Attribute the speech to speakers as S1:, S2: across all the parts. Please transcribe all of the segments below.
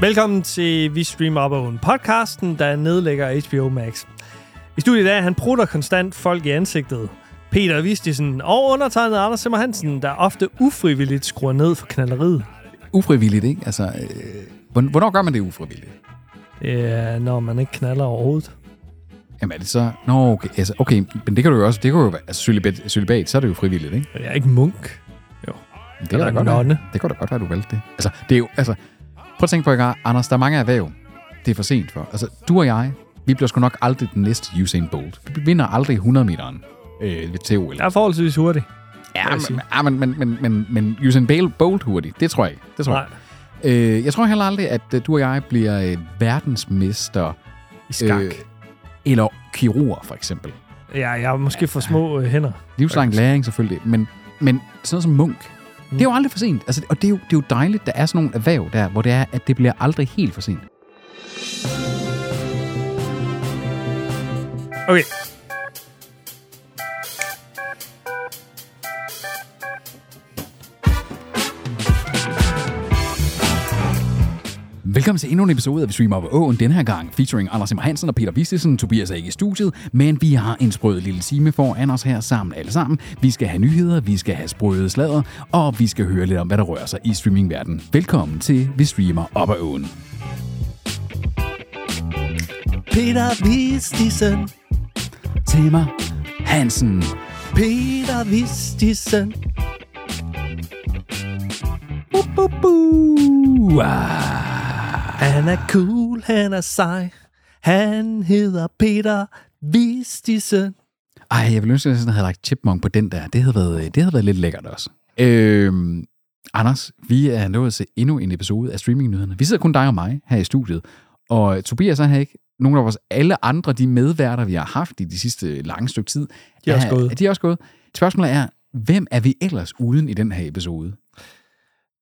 S1: Velkommen til Vi Streamer Op Oven, podcasten, der nedlægger HBO Max. I studiet i dag, han prutter konstant folk i ansigtet. Peter Vistisen og undertegnet Anders Simmer Hansen, der ofte ufrivilligt skruer ned for knalleriet.
S2: Ufrivilligt, ikke? Altså, øh, hvorn- hvornår gør man det ufrivilligt?
S1: Ja, når man ikke knaller overhovedet.
S2: Jamen er det så... Nå, okay, altså, okay men det kan du jo også... Det kan jo være... Altså, celibat, celibat, så er det jo frivilligt, ikke?
S1: Jeg er ikke munk.
S2: Men Det kan
S1: Eller
S2: da godt
S1: nonne.
S2: være. Det kan da godt være, du valgte det. Altså, det er jo... Altså, prøv at tænke på, ikke? Anders, der er mange erhverv, det er for sent for. Altså, du og jeg, vi bliver sgu nok aldrig den næste Usain Bolt. Vi vinder aldrig 100-meteren øh, ved til OL.
S1: Jeg er forholdsvis hurtig.
S2: Ja,
S1: jeg
S2: men,
S1: sige.
S2: ja, men, men, men, men, men Usain Bale Bolt hurtigt, det tror jeg ikke. Det tror
S1: Nej,
S2: jeg. ikke. Øh, jeg tror heller aldrig, at øh, du og jeg bliver øh, verdensmester
S1: i skak. Øh.
S2: eller kirurger, for eksempel.
S1: Ja, jeg har måske for små øh, hænder.
S2: Livslang læring selvfølgelig, men, men sådan noget som munk, mm. det er jo aldrig for sent. Altså, og det er, jo, det er jo dejligt, der er sådan nogle erhverv der, hvor det er, at det bliver aldrig helt for sent.
S1: Okay.
S2: Velkommen til endnu en episode af Vi Streamer på Åen, den her gang featuring Anders Simmer Hansen og Peter Vistisen. Tobias er ikke i studiet, men vi har en sprød lille time foran os her sammen alle sammen. Vi skal have nyheder, vi skal have sprøde sladder, og vi skal høre lidt om, hvad der rører sig i streamingverdenen. Velkommen til Vi Streamer op ad åen.
S3: Peter Vistisen,
S2: Tema Hansen.
S3: Peter Vistisen.
S2: Bu-bu-bu. Ah.
S3: Han er cool, han er sej. Han hedder Peter Vistisen.
S2: Ej, jeg ville ønske, at jeg sådan havde lagt chipmunk på den der. Det havde været, øh, det havde været lidt lækkert også. Øhm, Anders, vi er nået til endnu en episode af streamingnyhederne. Vi sidder kun dig og mig her i studiet. Og øh, Tobias er her ikke. Nogle af vores alle andre, de medværter, vi har haft i de sidste øh, lange stykke tid,
S1: De er også gået.
S2: De er også gået. Spørgsmålet er, hvem er vi ellers uden i den her episode?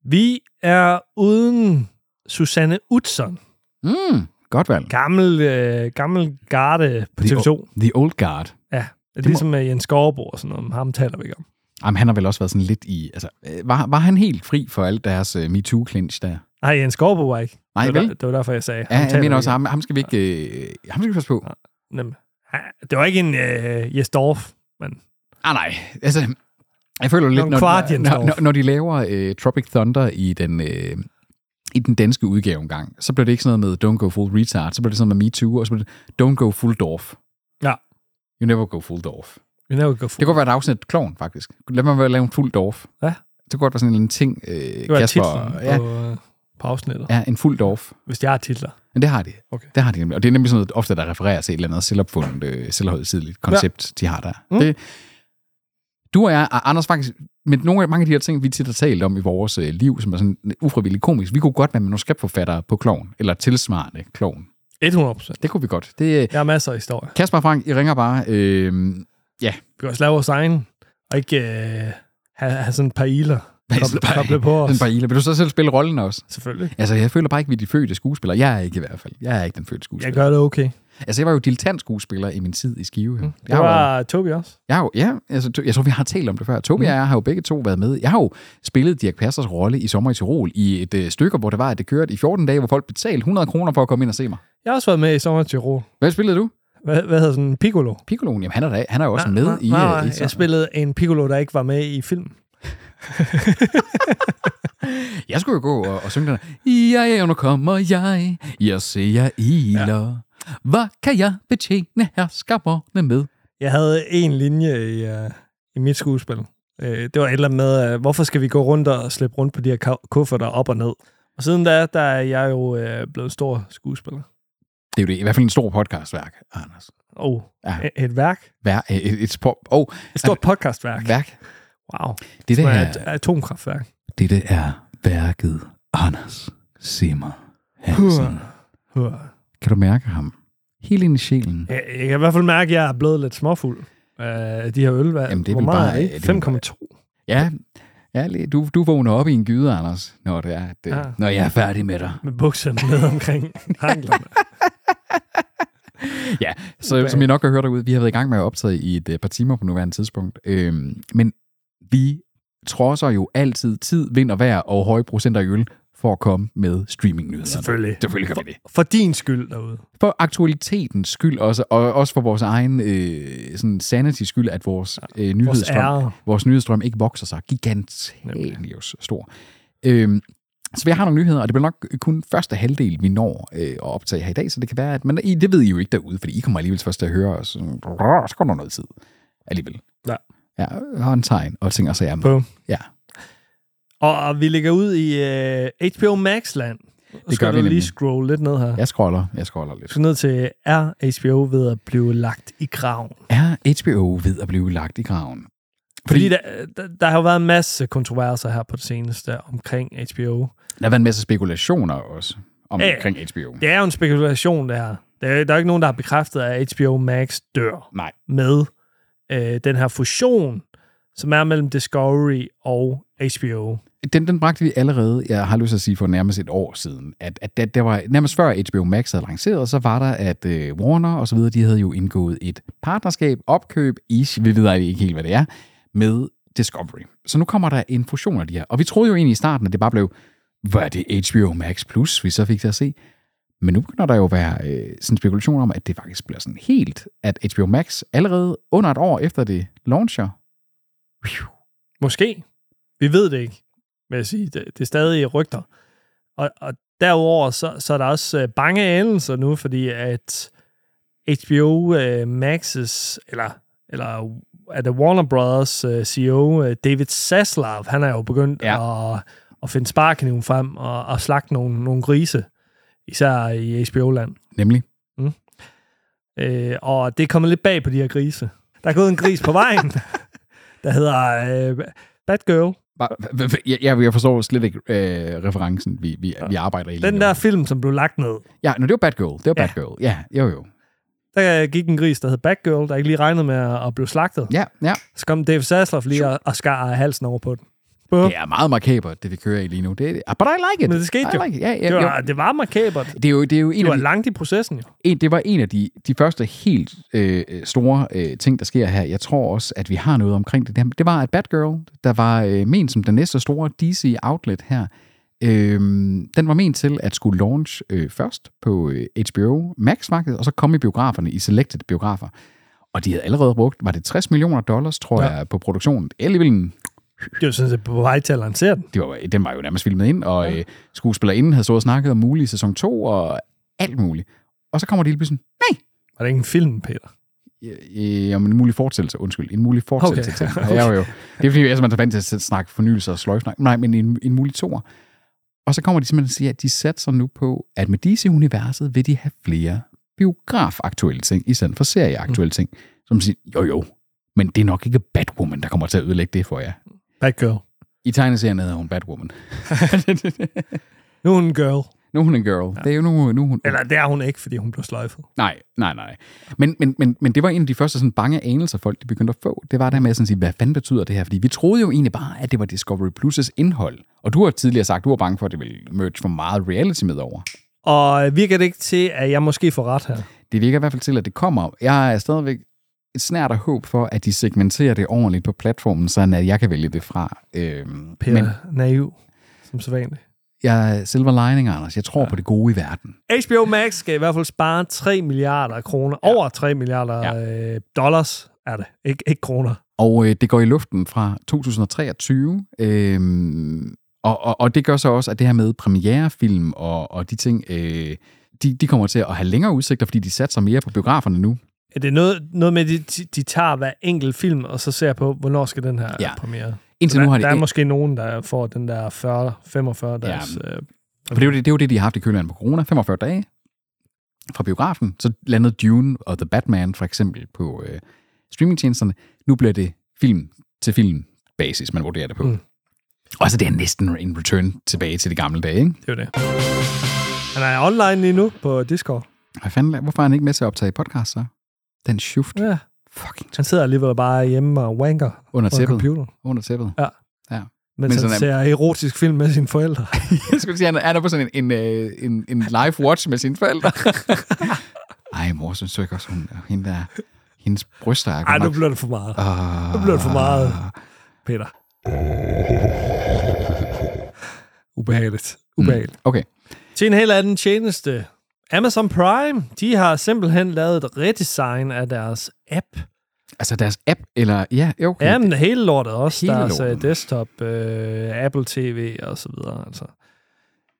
S1: Vi er uden Susanne Utzon.
S2: Mm, godt valg.
S1: Gammel, øh, gammel garde på
S2: Det er
S1: TV2.
S2: The Old Guard.
S1: Ja, det er ligesom øh, Jens Skorbo og sådan noget. men Ham taler vi ikke om.
S2: Jamen, han har vel også været sådan lidt i... Altså, øh, var, var han helt fri for alt deres øh, MeToo-clinch der?
S1: Nej, Jens Skorbo var ikke.
S2: Nej,
S1: det, var,
S2: vel?
S1: der- det var derfor, jeg sagde.
S2: Ja,
S1: ham
S2: jeg
S1: taler vi
S2: mener også,
S1: ikke om.
S2: ham, ham skal vi ikke... Øh, ham skal vi passe på.
S1: Nem. Ja, Det var ikke en øh, Jesdorf, men
S2: Ah, nej. Altså, jeg føler lidt,
S1: en
S2: når,
S1: kvart, Jens
S2: når,
S1: Torf.
S2: når, når de laver øh, Tropic Thunder i den, øh, i den danske udgave engang, så blev det ikke sådan noget med Don't Go Full Retard, så blev det sådan noget med Me Too, og så blev det Don't Go Full Dorf.
S1: Ja.
S2: You never go full dorf.
S1: vi nævner ikke
S2: Det kunne godt være et afsnit klovn, faktisk. Lad mig være lave en fuld dorf.
S1: Ja.
S2: Det kunne godt være sådan en eller anden ting, øh,
S1: det var
S2: Kasper...
S1: titlen ja.
S2: Ja,
S1: på, øh, på afsnittet, ja.
S2: ja, en fuld dorf.
S1: hvis jeg har titler.
S2: Men det har de.
S1: Okay.
S2: Det har de nemlig. Og det er nemlig sådan noget, ofte der refererer til et eller andet selvopfundet, øh, selvhøjtidligt koncept, ja. de har der.
S1: Mm.
S2: Mm. Det, du og jeg, og Anders faktisk, med nogle af mange af de her ting, vi tit har talt om i vores øh, liv, som er sådan ufrivilligt komisk, vi kunne godt være manuskriptforfattere på kloven, eller tilsvarende kloven.
S1: 100 procent.
S2: Det kunne vi godt. Det, øh,
S1: Jeg har masser af historier.
S2: Kasper og Frank, I ringer bare. Øh,
S1: Vi kan også lave vores egen, og ikke øh, have, have sådan et par iler koble, koble på os.
S2: den bare Ila. Vil du så selv spille rollen også?
S1: Selvfølgelig.
S2: Altså, jeg føler bare ikke, vi er de fødte skuespillere. Jeg er ikke i hvert fald. Jeg er ikke den fødte
S1: Jeg
S2: skuespiller.
S1: gør det okay.
S2: Altså, jeg var jo dilettant skuespiller i min tid i Skive. Mm.
S1: Det var Tobi også.
S2: Jeg har jo, ja, altså, to- jeg tror, vi har talt om det før. Tobi mm. og jeg har jo begge to været med. Jeg har jo spillet Dirk Passers rolle i Sommer i Tirol i et øh, stykke, hvor det var, at det kørte i 14 dage, hvor folk betalte 100 kroner for at komme ind og se mig.
S1: Jeg har også været med i Sommer i Tirol.
S2: Hvad spillede du?
S1: Hvad, hvad hedder sådan en piccolo?
S2: Piccoloen, jamen han er, da, han er jo også med i...
S1: nej,
S2: øh,
S1: nej,
S2: i
S1: jeg spillede en piccolo, der ikke var med i filmen.
S2: jeg skulle jo gå og, og synge den her. Ja, ja, nu kommer jeg. Jeg ser iler. Ja. Hvad kan jeg betjene herskaberne med?
S1: Jeg havde en linje i, uh, i mit skuespil. Uh, det var et eller andet med, uh, hvorfor skal vi gå rundt og slæbe rundt på de her ka- kufferter op og ned? Og siden da, der er jeg jo uh, blevet stor skuespiller.
S2: Det er jo det, i hvert fald en stor podcastværk, Anders.
S1: Oh,
S2: Ja.
S1: ja. et værk.
S2: Vær, et, et, et, spor- åh,
S1: Et stort podcastværk.
S2: et værk.
S1: Wow.
S2: Det,
S1: Det
S2: det
S1: er
S2: her,
S1: et atomkraftværk.
S2: Dette er værket Anders Simmer Hansen.
S1: Uh.
S2: Kan du mærke ham? Helt ind i sjælen.
S1: Jeg, jeg kan i hvert fald mærke, at jeg er blevet lidt småfuld. Uh, de her øl, hvad,
S2: Jamen, det er
S1: hvor
S2: vel
S1: meget
S2: bare-
S1: er
S2: ja,
S1: det?
S2: det er vel
S1: 5,2.
S2: Ja, ja lidt. du, du vågner op i en gyde, Anders, når, det er, at,
S1: Ja.
S2: ja. når jeg er færdig med dig.
S1: Med bukserne ned omkring hanklerne.
S2: Ja, så, som I nok har hørt derude, vi har været i gang med at optage i et øh, par timer på nuværende tidspunkt. Øhm, men vi trodser jo altid tid, vind og vejr og høje procenter i øl for at komme med streamingnyhederne.
S1: Selvfølgelig.
S2: Selvfølgelig gør vi det.
S1: For din skyld derude.
S2: For aktualitetens skyld også, og også for vores egen øh, sådan sanity skyld, at vores, øh, nyhedsstrøm,
S1: ære.
S2: vores, vores nyhedsstrøm ikke vokser sig gigantisk stor. Øhm, så jeg har nogle nyheder, og det bliver nok kun første halvdel, vi når øh, at optage her i dag, så det kan være, at... Men I, det ved I jo ikke derude, fordi I kommer alligevel først til at høre os. sådan, Så går der noget tid alligevel.
S1: Ja.
S2: Ja, og en tegn og ting og sager. med.
S1: På.
S2: Ja,
S1: Og vi ligger ud i uh, HBO Max-land. Det skal
S2: gør vi
S1: du lige
S2: nemlig.
S1: scrolle lidt ned her. Ja.
S2: jeg scroller, jeg scroller lidt.
S1: Du skal ned til, er HBO ved at blive lagt i graven?
S2: Er HBO ved at blive lagt i graven?
S1: Fordi, Fordi der, der, der har jo været en masse kontroverser her på det seneste omkring HBO.
S2: Der har været en masse spekulationer også om,
S1: Ja.
S2: omkring HBO.
S1: Det er jo en spekulation, det her. Der er, der er jo ikke nogen, der har bekræftet, at HBO Max dør
S2: Nej.
S1: med øh, den her fusion, som er mellem Discovery og HBO.
S2: Den, den bragte vi allerede, jeg har lyst til at sige, for nærmest et år siden. At, at det, det var nærmest før HBO Max havde lanceret, så var der, at øh, Warner og så videre, de havde jo indgået et partnerskab, opkøb, ish, vi ved ikke helt, hvad det er, med Discovery. Så nu kommer der en fusion af de her. Og vi troede jo egentlig i starten, at det bare blev, var det HBO Max Plus, vi så fik til at se? Men nu begynder der jo at være øh, sådan spekulation om, at det faktisk bliver sådan helt, at HBO Max allerede under et år efter det launcher,
S1: Måske. Vi ved det ikke, vil jeg sige. Det, det er stadig rygter. Og, og derudover, så, så er der også øh, bange anelser nu, fordi at HBO øh, Max's, eller, eller er det Warner Brothers øh, CEO, øh, David Zaslav, han er jo begyndt ja. at, at finde sparkniven frem og, og slagte nogle, nogle grise, især i HBO-land.
S2: nemlig
S1: Øh, og det er kommet lidt bag på de her grise. Der er gået en gris på vejen, der hedder øh, Batgirl.
S2: Hva- hva- hva- Jeg, jeg, jeg forstår slet ikke øh, referencen, vi, vi, vi arbejder i. lige
S1: Den
S2: nu.
S1: der film, som blev lagt ned,
S2: Ja, no, det var Batgirl. Det var
S1: Ja.
S2: Batgirl. Ja, jo jo.
S1: der gik en gris, der hed Batgirl, der ikke lige regnede med at at blive slagtet.
S2: Ja, ja.
S1: Så kom Dave Sassler lige og, og skar halsen over på den. Bum.
S2: Det er meget makabert, det vi kører i lige nu. Det, er- but I like it.
S1: Men det skete
S2: I
S1: jo.
S2: Like it. Ja, ja,
S1: Det var,
S2: jo.
S1: det var makabert.
S2: Det er jo, det er jo en
S1: Det
S2: af
S1: var
S2: de,
S1: langt i processen, jo.
S2: en, det var en af de, de første helt øh, øh, store øh, ting, der sker her. Jeg tror også, at vi har noget omkring det. Det var, at Batgirl, der var øh, ment som den næste store DC-outlet her, øh, den var ment til at skulle launch øh, først på øh, HBO Max-markedet, og så komme i biograferne, i selected biografer. Og de havde allerede brugt, var det 60 millioner dollars, tror
S1: Ja.
S2: ja. jeg, på produktionen. Alligevel en
S1: Det var sådan set på vej til at lancere den.
S2: det var, den var jo nærmest filmet ind, og ja. øh, skuespillerinden havde stået og snakket om mulig sæson 2 og alt muligt. Og så kommer de lige pludselig, nej,
S1: Var det ikke en film, Peter?
S2: øh, om en mulig fortsættelse, undskyld, en mulig fortsættelse
S1: Okay.
S2: okay. til. Ja, jo, jo. Det er fordi, jeg er simpelthen så vant til at sætte- snakke fornyelse og sløjfsnak. Nej, men en, en mulig toer. Og så kommer de simpelthen og siger, at de satser nu på, at med DC-universet vil de have flere biografaktuelle ting, i stedet for serieaktuelle mm. ting. Som siger, jo jo, men det er nok ikke Batwoman, der kommer til at ødelægge det for jer.
S1: Batgirl.
S2: I tegneserien hedder hun Batwoman.
S1: Nu er hun en girl.
S2: nu er hun en girl. Ja. Det er jo nu, nu er hun
S1: Eller det er hun ikke, fordi hun blev sløjfet.
S2: Nej, nej, nej. Men, men, men, men det var en af de første sådan, bange anelser, folk de begyndte at få. Det var der med at sådan sige, hvad fanden betyder det her? Fordi vi troede jo egentlig bare, at det var Discovery Plus' indhold. Og du har tidligere sagt, du var bange for, at det ville merge for meget reality med over.
S1: Og øh, virker det ikke til, at jeg måske får ret her?
S2: Det virker i hvert fald til, at det kommer. Jeg er stadigvæk et snært af håb for, at de segmenterer det ordentligt på platformen, sådan at jeg kan vælge det fra. Øhm,
S1: Peter
S2: men
S1: Naiv, som så vanligt.
S2: jeg er silver lining, Anders. Jeg tror ja. på det gode i verden.
S1: HBO Max skal i hvert fald spare 3 milliarder kroner. Ja. Over 3 milliarder ja. øh, dollars er det. Ik- ikke kroner.
S2: Og øh, det går i luften fra 2023. Øhm, og, og, og det gør så også, at det her med premierefilm og, og de ting, øh, de, de kommer til at have længere udsigter, fordi de satser mere på biograferne nu.
S1: Er det noget, noget med, at de, de- de tager hver enkelt film, og så ser på, hvornår skal den her ja.
S2: Ja.
S1: premiere?
S2: Indtil
S1: der,
S2: nu har de
S1: der er måske nogen, der får den der 40, 45 dags... Ja. Øh,
S2: For det er jo det, det, er jo det de har haft i kølvandet på corona, 45 dage fra biografen. Så landede Dune og The Batman for eksempel på øh, streamingtjenesterne. Nu bliver det film til film basis, man vurderer det på.
S1: Mm.
S2: Mm. Og så det er næsten en return tilbage til de gamle dage, ikke?
S1: det er jo det. Han er online lige nu på Discord.
S2: Hvad fanden, hvorfor er han ikke med til at optage podcast så? Den shift.
S1: Ja.
S2: Fucking
S1: Han sidder alligevel bare hjemme og wanker
S2: under
S1: på
S2: tæppet.
S1: computeren,
S2: Under tæppet.
S1: mens
S2: Men
S1: Men han
S2: sådan
S1: ser erotisk film med sine forældre.
S2: Jeg skulle sige, han er der på sådan en, en, øh, en, en live watch med sine forældre. Ej, mor, synes du ikke også, hun, hende der, hendes bryster er
S1: Ej, nu bliver det for meget,
S2: uh,
S1: nu bliver det for meget. Peter. Ubehageligt. ubehageligt. Mm.
S2: Okay.
S1: Til en helt anden tjeneste. Amazon Prime, de har simpelthen lavet et redesign af deres app.
S2: Altså deres app, eller... Ja, okay.
S1: Ja, men hele lortet også.
S2: Hele
S1: Hele deres
S2: lorten.
S1: lorten. desktop, øh, Apple TV og så videre. Altså.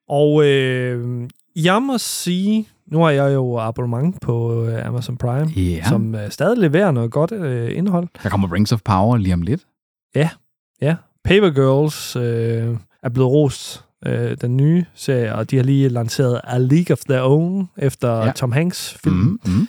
S1: Og øh, jeg må sige, nu har jeg jo abonnement på øh, Amazon Prime,
S2: Ja,
S1: ja. som øh, stadig leverer noget godt øh, indhold.
S2: der kommer Rings of Power lige om lidt.
S1: Paper Girls øh, er blevet rost, øh, den nye serie, og de har lige lanceret A League of Their Own efter
S2: Ja.
S1: ja. Tom Hanks film. Mm.
S2: Mm, mm.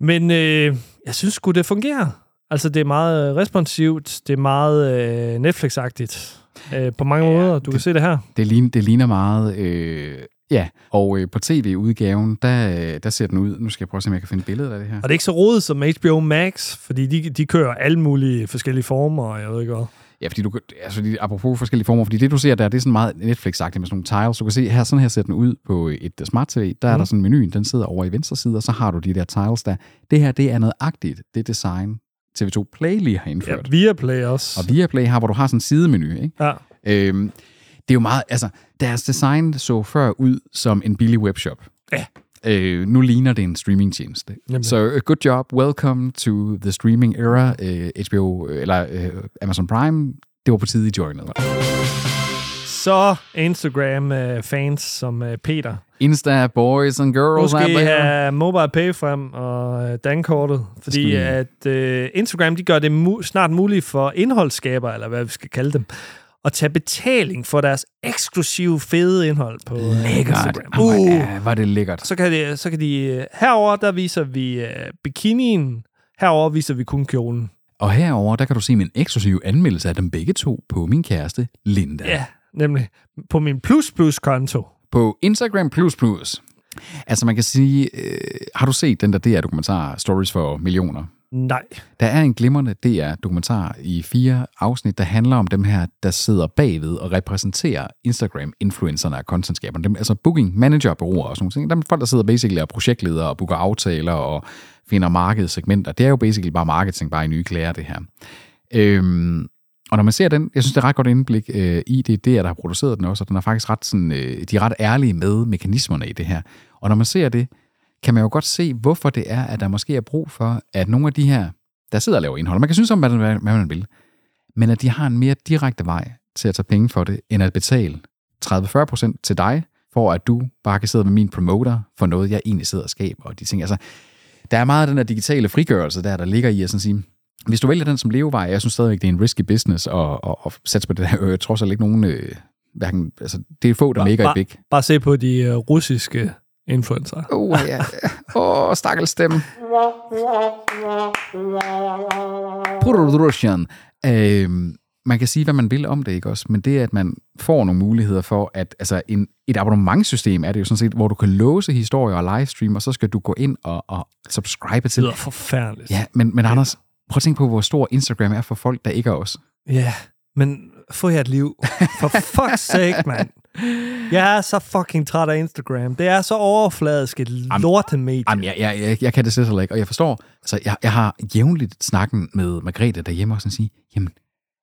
S1: Men øh, jeg synes sgu, det fungerer. Altså, det er meget øh, responsivt, det er meget øh, Netflix-agtigt øh, på mange
S2: Ja,
S1: ja, måder. Du det... kan se det her.
S2: Det, ligner, det ligner meget... Øh, ja, og øh, på tv-udgaven, der, øh, der ser den ud... Nu skal jeg prøve at se, om jeg kan finde billedet af det her.
S1: Og det er ikke så rodet som HBO Max, fordi de, de kører alle mulige forskellige former, og jeg ved ikke hvad.
S2: Ja, fordi du, kan- altså, lige apropos forskellige former, fordi det, du ser der, det er sådan meget Netflix-agtigt med sådan nogle tiles. Du kan se, her, sådan her ser den ud på et øh, smart tv. Der er mm.
S1: Mhm.
S2: der sådan menuen, den sidder over i venstre side, og så har du de der tiles der. Det her, det er noget agtigt. Det design, TV2 Play lige har indført.
S1: Ja, Viaplay også.
S2: Og Viaplay har, hvor du har sådan en sidemenu, ikke?
S1: Ja.
S2: Øhm, det er jo meget, altså, deres design så før ud som en billig webshop.
S1: Ja.
S2: Øh, nu ligner det en streamingtjeneste.
S1: Nemlig.
S2: Så so, good job, welcome to the streaming era, øh, HBO, øh, eller øh, Amazon Prime, det var på tide i joinet.
S1: Så Instagram-fans som øh, Peter,
S2: Insta boys and girls out
S1: Måske
S2: there.
S1: have mobile pay frem og øh, dankortet, fordi
S2: vi-
S1: at øh, Instagram de gør det mu- snart muligt for indholdsskabere, eller hvad vi skal kalde dem, at tage betaling for deres eksklusive fede indhold på øh,
S2: Lækkert.
S1: Instagram.
S2: Uh.
S1: Uh,
S2: Ja, var det lækkert.
S1: så, kan det, så kan de... øh, Herover der viser vi øh, bikinien, herover viser vi kun kjolen.
S2: Og herover der kan du se min eksklusive anmeldelse af dem begge to på min kæreste Linda.
S1: Ja, nemlig på min plus plus konto.
S2: på Instagram++. Altså man kan sige, øh, har du set den der DR-dokumentar Stories for Millioner?
S1: Nej.
S2: Der er en glimrende DR-dokumentar i fire afsnit, der handler om dem her, der sidder bagved og repræsenterer Instagram-influencerne og contentskaberne. Dem, altså booking manager bureauer og sådan nogle ting. Der er folk, der sidder basically og er projektledere og booker aftaler og finder markedssegmenter. Det er jo basically bare marketing, bare i nye klæder, det her. Øhm, og når man ser den, jeg synes, det er et ret godt indblik øh, i det, det er, der har produceret den også, og den er faktisk ret sådan, øh, de er ret ærlige med mekanismerne i det her. Og når man ser det, kan man jo godt se, hvorfor det er, at der måske er brug for, at nogle af de her, der sidder og laver indhold, man kan synes om, hvad, hvad hvad man vil, men at de har en mere direkte vej til at tage penge for det, end at betale 30-40% til dig, for at du bare kan sidde med min promoter for noget, jeg egentlig sidder og skaber, og de ting. Altså, der er meget af den der digitale frigørelse der, der ligger i at sådan sige, hvis du vælger den som levevej, jeg synes stadigvæk, det er en risky business at, at, at satse på det der. Jeg tror slet ikke nogen, øh, hverken, altså, det er få, der
S1: Bare-
S2: ligger i
S1: bare-
S2: big.
S1: Bare se på de øh, russiske influencer.
S2: Åh, oh, ja. Åh, oh, stakkels stemme. Production. Øhm, man kan sige, hvad man vil om det, ikke også? Men det, at man får nogle muligheder for, at altså en, et abonnementssystem er det jo sådan set, hvor du kan låse historier og livestream, og så skal du gå ind og, og subscribe
S1: Det
S2: til.
S1: lyder forfærdeligt.
S2: Ja, men, men Anders, prøv at tænke på, hvor stor Instagram er for folk, der ikke er os.
S1: Ja, men få jer et liv. For fuck's sake, mand. Jeg er så fucking træt af Instagram. Det er så overfladisk et lortemedie.
S2: Jamen, jeg, jeg, jeg, jeg kan det slet heller ikke, og jeg forstår. Altså, jeg, jeg har jævnligt snakken med Margrethe derhjemme og sådan sige, jamen,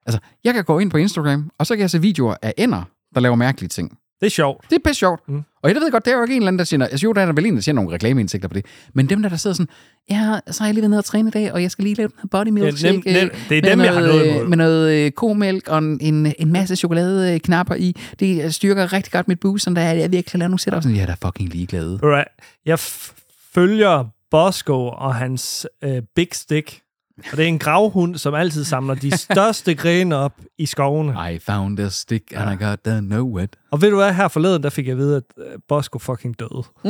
S2: altså, jeg kan gå ind på Instagram, og så kan jeg se videoer af ender, der laver mærkelige ting.
S1: Det er sjovt.
S2: Det er pisse sjovt. Mm.
S1: Mm.
S2: Og jeg ved godt, der er jo ikke en eller anden, der siger, altså jo, der er der vel en, der siger nogle reklameindsigter på det. Men dem der, der sidder sådan, ja, så har jeg lige været nede og træne i dag, og jeg skal lige lave den her body
S1: Det er,
S2: milkshake.
S1: nem, nem,
S2: øh,
S1: det er
S2: med
S1: dem, jeg har noget imod.
S2: øh, Med noget øh, komælk og en, en, en masse chokoladeknapper i. Det styrker rigtig godt mit boost, sådan der er, jeg virkelig laver nogle sætter. Sådan, ja, der er fucking ligeglade.
S1: Alright. Jeg f- følger Bosco og hans øh, Big Stick. Og det er en gravhund, som altid samler de største grene op i skovene.
S2: I found a stick, and
S1: Ah.
S2: I got to know it.
S1: Og ved du hvad, her forleden, der fik jeg at vide, at øh, Bosco fucking døde.
S2: Mm.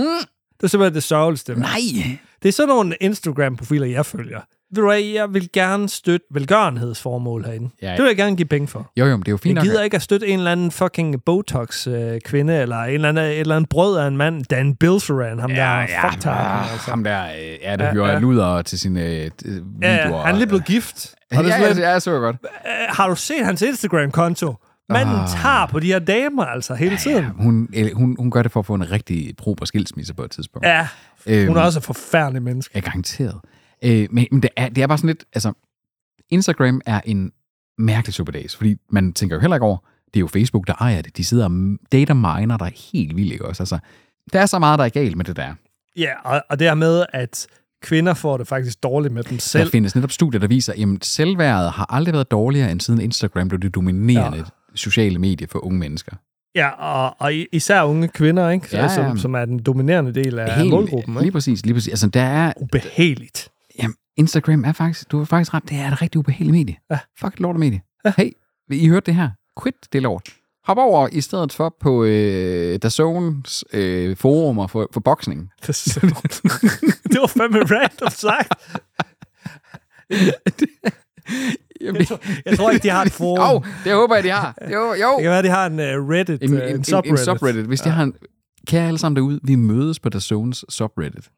S1: Det er simpelthen det sørgeligste. mand.
S2: Nej!
S1: Det er sådan nogle Instagram-profiler, jeg følger. Ved du hvad, jeg vil gerne støtte velgørenhedsformål herinde.
S2: Ja, ja.
S1: Det vil jeg gerne give penge for.
S2: Jo, jo, men det er jo fint
S1: Jeg
S2: nok.
S1: gider ikke at støtte en eller anden fucking Botox-kvinde, eller en eller anden, et eller anden brød af en mand, Dan Bilzerian, ham ja, der ja, fucked
S2: ah,
S1: altså.
S2: ham der, øh, ja, der
S1: Ja,
S2: hører ja,
S1: ja.
S2: luder til sine øh, d- videoer.
S1: Ja, ja, han er lige blevet gift. Og det er sådan,
S2: ja, ja, så godt.
S1: lidt, "Øh, har du set hans Instagram-konto? Manden
S2: Ah.
S1: tager på de her damer, altså, hele tiden.
S2: Ja, hun, eller hun, hun gør det for at få en rigtig proper skilsmisse på et tidspunkt.
S1: Ja,
S2: øhm,
S1: hun er også et forfærdelig menneske.
S2: Ja, garanteret. Øh, men men det, er, det er bare sådan lidt, altså, Instagram er en mærkelig superdags, fordi man tænker jo heller ikke over, det er jo Facebook, der ejer det. De sidder og data miner, der er helt vildt, ikke også? Altså, der er så meget, der er galt med det der.
S1: Ja, og, og det her med, at kvinder får det faktisk dårligt med dem selv.
S2: Der findes netop studier, der viser, at selvværdet har aldrig været dårligere, end siden Instagram blev det dominerende ja. sociale medie for unge mennesker.
S1: Ja, og, og i- især unge kvinder, ikke?
S2: Ja, ja.
S1: Som, som er den dominerende del af Helt, målgruppen.
S2: Lige
S1: Ikke?
S2: præcis, lige præcis. Altså, der er,
S1: Ubehageligt.
S2: Jamen, Instagram er faktisk, du har faktisk ret, det er et rigtig ubehageligt medie. Ja. Fuck et lort medie. Ja. Hey, I hørte det her. Quit det lort. Hop over i stedet for på øh, DAZN's øh, forumer for, for boksning.
S1: Det er så- det var fandme random sagt.
S2: Jamen,
S1: Jeg tror ikke, de har et forum.
S2: Jo, det håber jeg, de har. Det håber, jo.
S1: Det kan være, de har en uh, Reddit,
S2: En, en,
S1: øh,
S2: en, subreddit. en subreddit. Hvis ja. de har en... Kære alle sammen derude, vi mødes på DAZN's subreddit.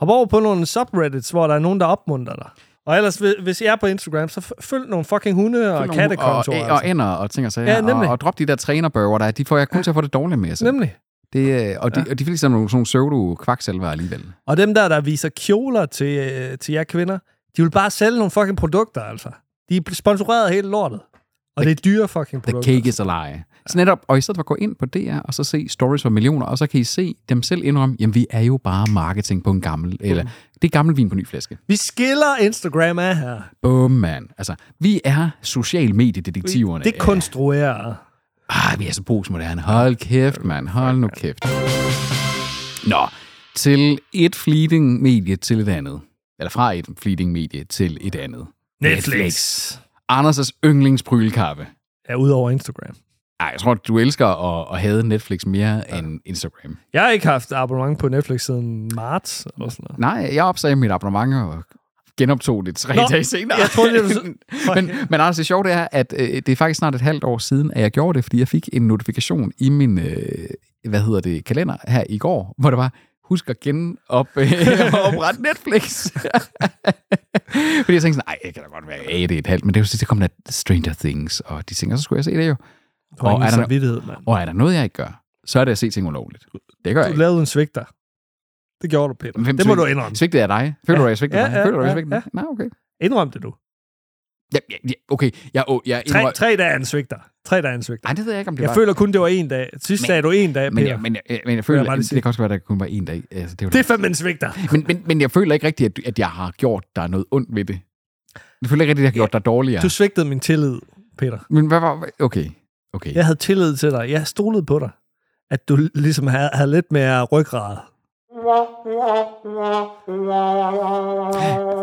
S1: Hop over på nogle subreddits, hvor der er nogen, der opmunter dig. Og ellers, hvis- hvis I er på Instagram, så f- følg nogle fucking hunde og
S2: Nogle-
S1: kattekontorer.
S2: Og, og, og
S1: altså.
S2: ender og ting og sager.
S1: Ja, nemlig.
S2: og, og drop de der trænerbørger, der er. De får jeg kun til at få det dårligt med. Altså.
S1: Nemlig.
S2: Det, øh, og, de, og de fleste er nogle sådan nogle pseudo-kvaksalver alligevel.
S1: Og dem der, der viser kjoler til, øh, til jer kvinder, de vil bare sælge nogle fucking produkter, altså. De er sponsoreret af hele lortet. Og det er dyre fucking
S2: The
S1: produkter.
S2: cake is a lie. Så netop, og i stedet for at gå ind på DR og så se stories for millioner, og så kan I se dem selv indrømme, jamen vi er jo bare marketing på en gammel, eller det er gammel vin på ny flaske.
S1: Vi skiller Instagram af her.
S2: Bum, man. Altså, vi er social mediedetektiverne.
S1: Det konstruerer.
S2: Ah, vi er så brugsmoderne. Hold kæft, mand. Hold nu kæft. Nå, til et fleeting medie til et andet. Eller fra et fleeting medie til et andet.
S1: Netflix.
S2: Anders' yndlingsprylkaffe.
S1: Ja, udover Instagram.
S2: Ej, jeg tror, du elsker at, at have Netflix mere ja. end Instagram.
S1: Jeg har ikke haft abonnement på Netflix siden marts. Eller sådan noget.
S2: Nej, jeg opsagde mit abonnement og genoptog det tre
S1: Nå,
S2: dage senere.
S1: jeg troede, det var-
S2: men, men Anders, det sjove det er, at øh, det er faktisk snart et halvt år siden, at jeg gjorde det, fordi jeg fik en notifikation i min, øh, hvad hedder det, kalender her i går, hvor der var, husk at genop, øh, oprette Netflix. fordi jeg tænkte sådan, nej, det kan da godt være, at det er et halvt, men det var så, det kom der Stranger Things og de ting, og så skulle jeg se det jo.
S1: Og
S2: Og er, der, no-
S1: samvittighed, mand.
S2: og er der noget, jeg ikke gør, så er det at se ting ulovligt. Det gør jeg
S1: Du
S2: ikke.
S1: lavede en svigter. Det gjorde du, Peter.
S2: Hvem
S1: det må
S2: svig-
S1: du indrømme.
S2: Svigtede jeg dig? Føler du,
S1: Ja.
S2: at jeg svigtede
S1: Ja,
S2: dig?
S1: ja,
S2: Føler du, at jeg
S1: ja,
S2: svigtede dig? Nej, okay.
S1: Indrøm det, du.
S2: Ja, ja, ja, okay, jeg, åh, jeg
S1: Tre,
S2: indrømmer...
S1: tre dage er en svigter. Tre dage er en svigter.
S2: Nej, det ved jeg ikke, om det
S1: Jeg
S2: var...
S1: føler kun, det var en dag. Sidst
S2: Men-
S1: sagde du en dag,
S2: men,
S1: Peter.
S2: jeg, men, jeg, men jeg føler,
S1: jeg bare
S2: jeg
S1: lige
S2: det,
S1: sige.
S2: det kan også være, at der kun var en dag. Altså, det var
S1: Det er fandme en svigter.
S2: Men, men, men jeg føler ikke rigtigt, at, at jeg har gjort dig noget ondt ved det. Jeg føler ikke rigtigt, at jeg har gjort dig dårligere.
S1: Du svigtede min tillid, Peter.
S2: Men hvad var... Okay, okay.
S1: Jeg havde tillid til dig. Jeg stolede på dig. At du ligesom havde, havde lidt mere ryggrad.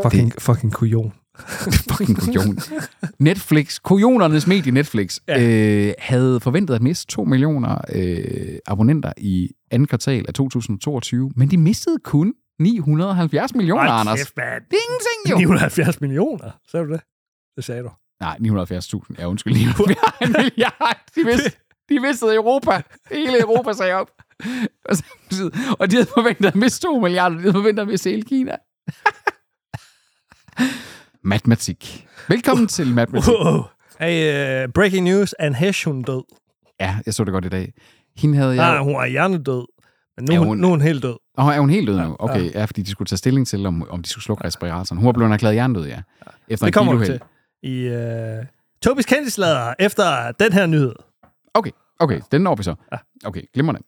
S1: Fucking, fucking kujon.
S2: fucking kujon. Netflix, kujonernes medie Netflix,
S1: Ja.
S2: ja. øh, havde forventet at miste 2 millioner øh, abonnenter i andet kvartal af 2022, men de mistede kun 970 millioner,
S1: Hold
S2: Anders.
S1: kæft, mand.
S2: Det er ingenting, jo.
S1: 970 millioner. Sagde du det? Det sagde du.
S2: Nej, 970.000. Ja, undskyld. 970 en milliard. De, mist, de mistede Europa. Hele Europa sagde op. Og, samtidig, og de havde forventet at miste 2 milliarder. De havde forventet at miste hele Kina. Matematik.
S1: Uh.
S2: Velkommen til matematik.
S1: Wow. Hey, uh, breaking news. Anne Hesh, hun er død.
S2: Ja, jeg så det godt i dag. Hende havde
S1: Ja.
S2: jeg...
S1: Nej, hun var hjernedød. Men nu,
S2: Ja,
S1: ja, hun...
S2: hun-
S1: nu er hun helt død.
S2: Åh, oh, er hun helt død
S1: Ah.
S2: nu? Okay, ja, fordi de skulle tage stilling til, om, om de skulle slukke respiratoren. Hun var blevet erklæret hjernedød, ja. Efter
S1: Det kommer
S2: en
S1: hun
S2: biluheld.
S1: til. I uh, Tobis Kendislader efter den her nyhed.
S2: Okay, okay, den når vi så. Okay, glimrende.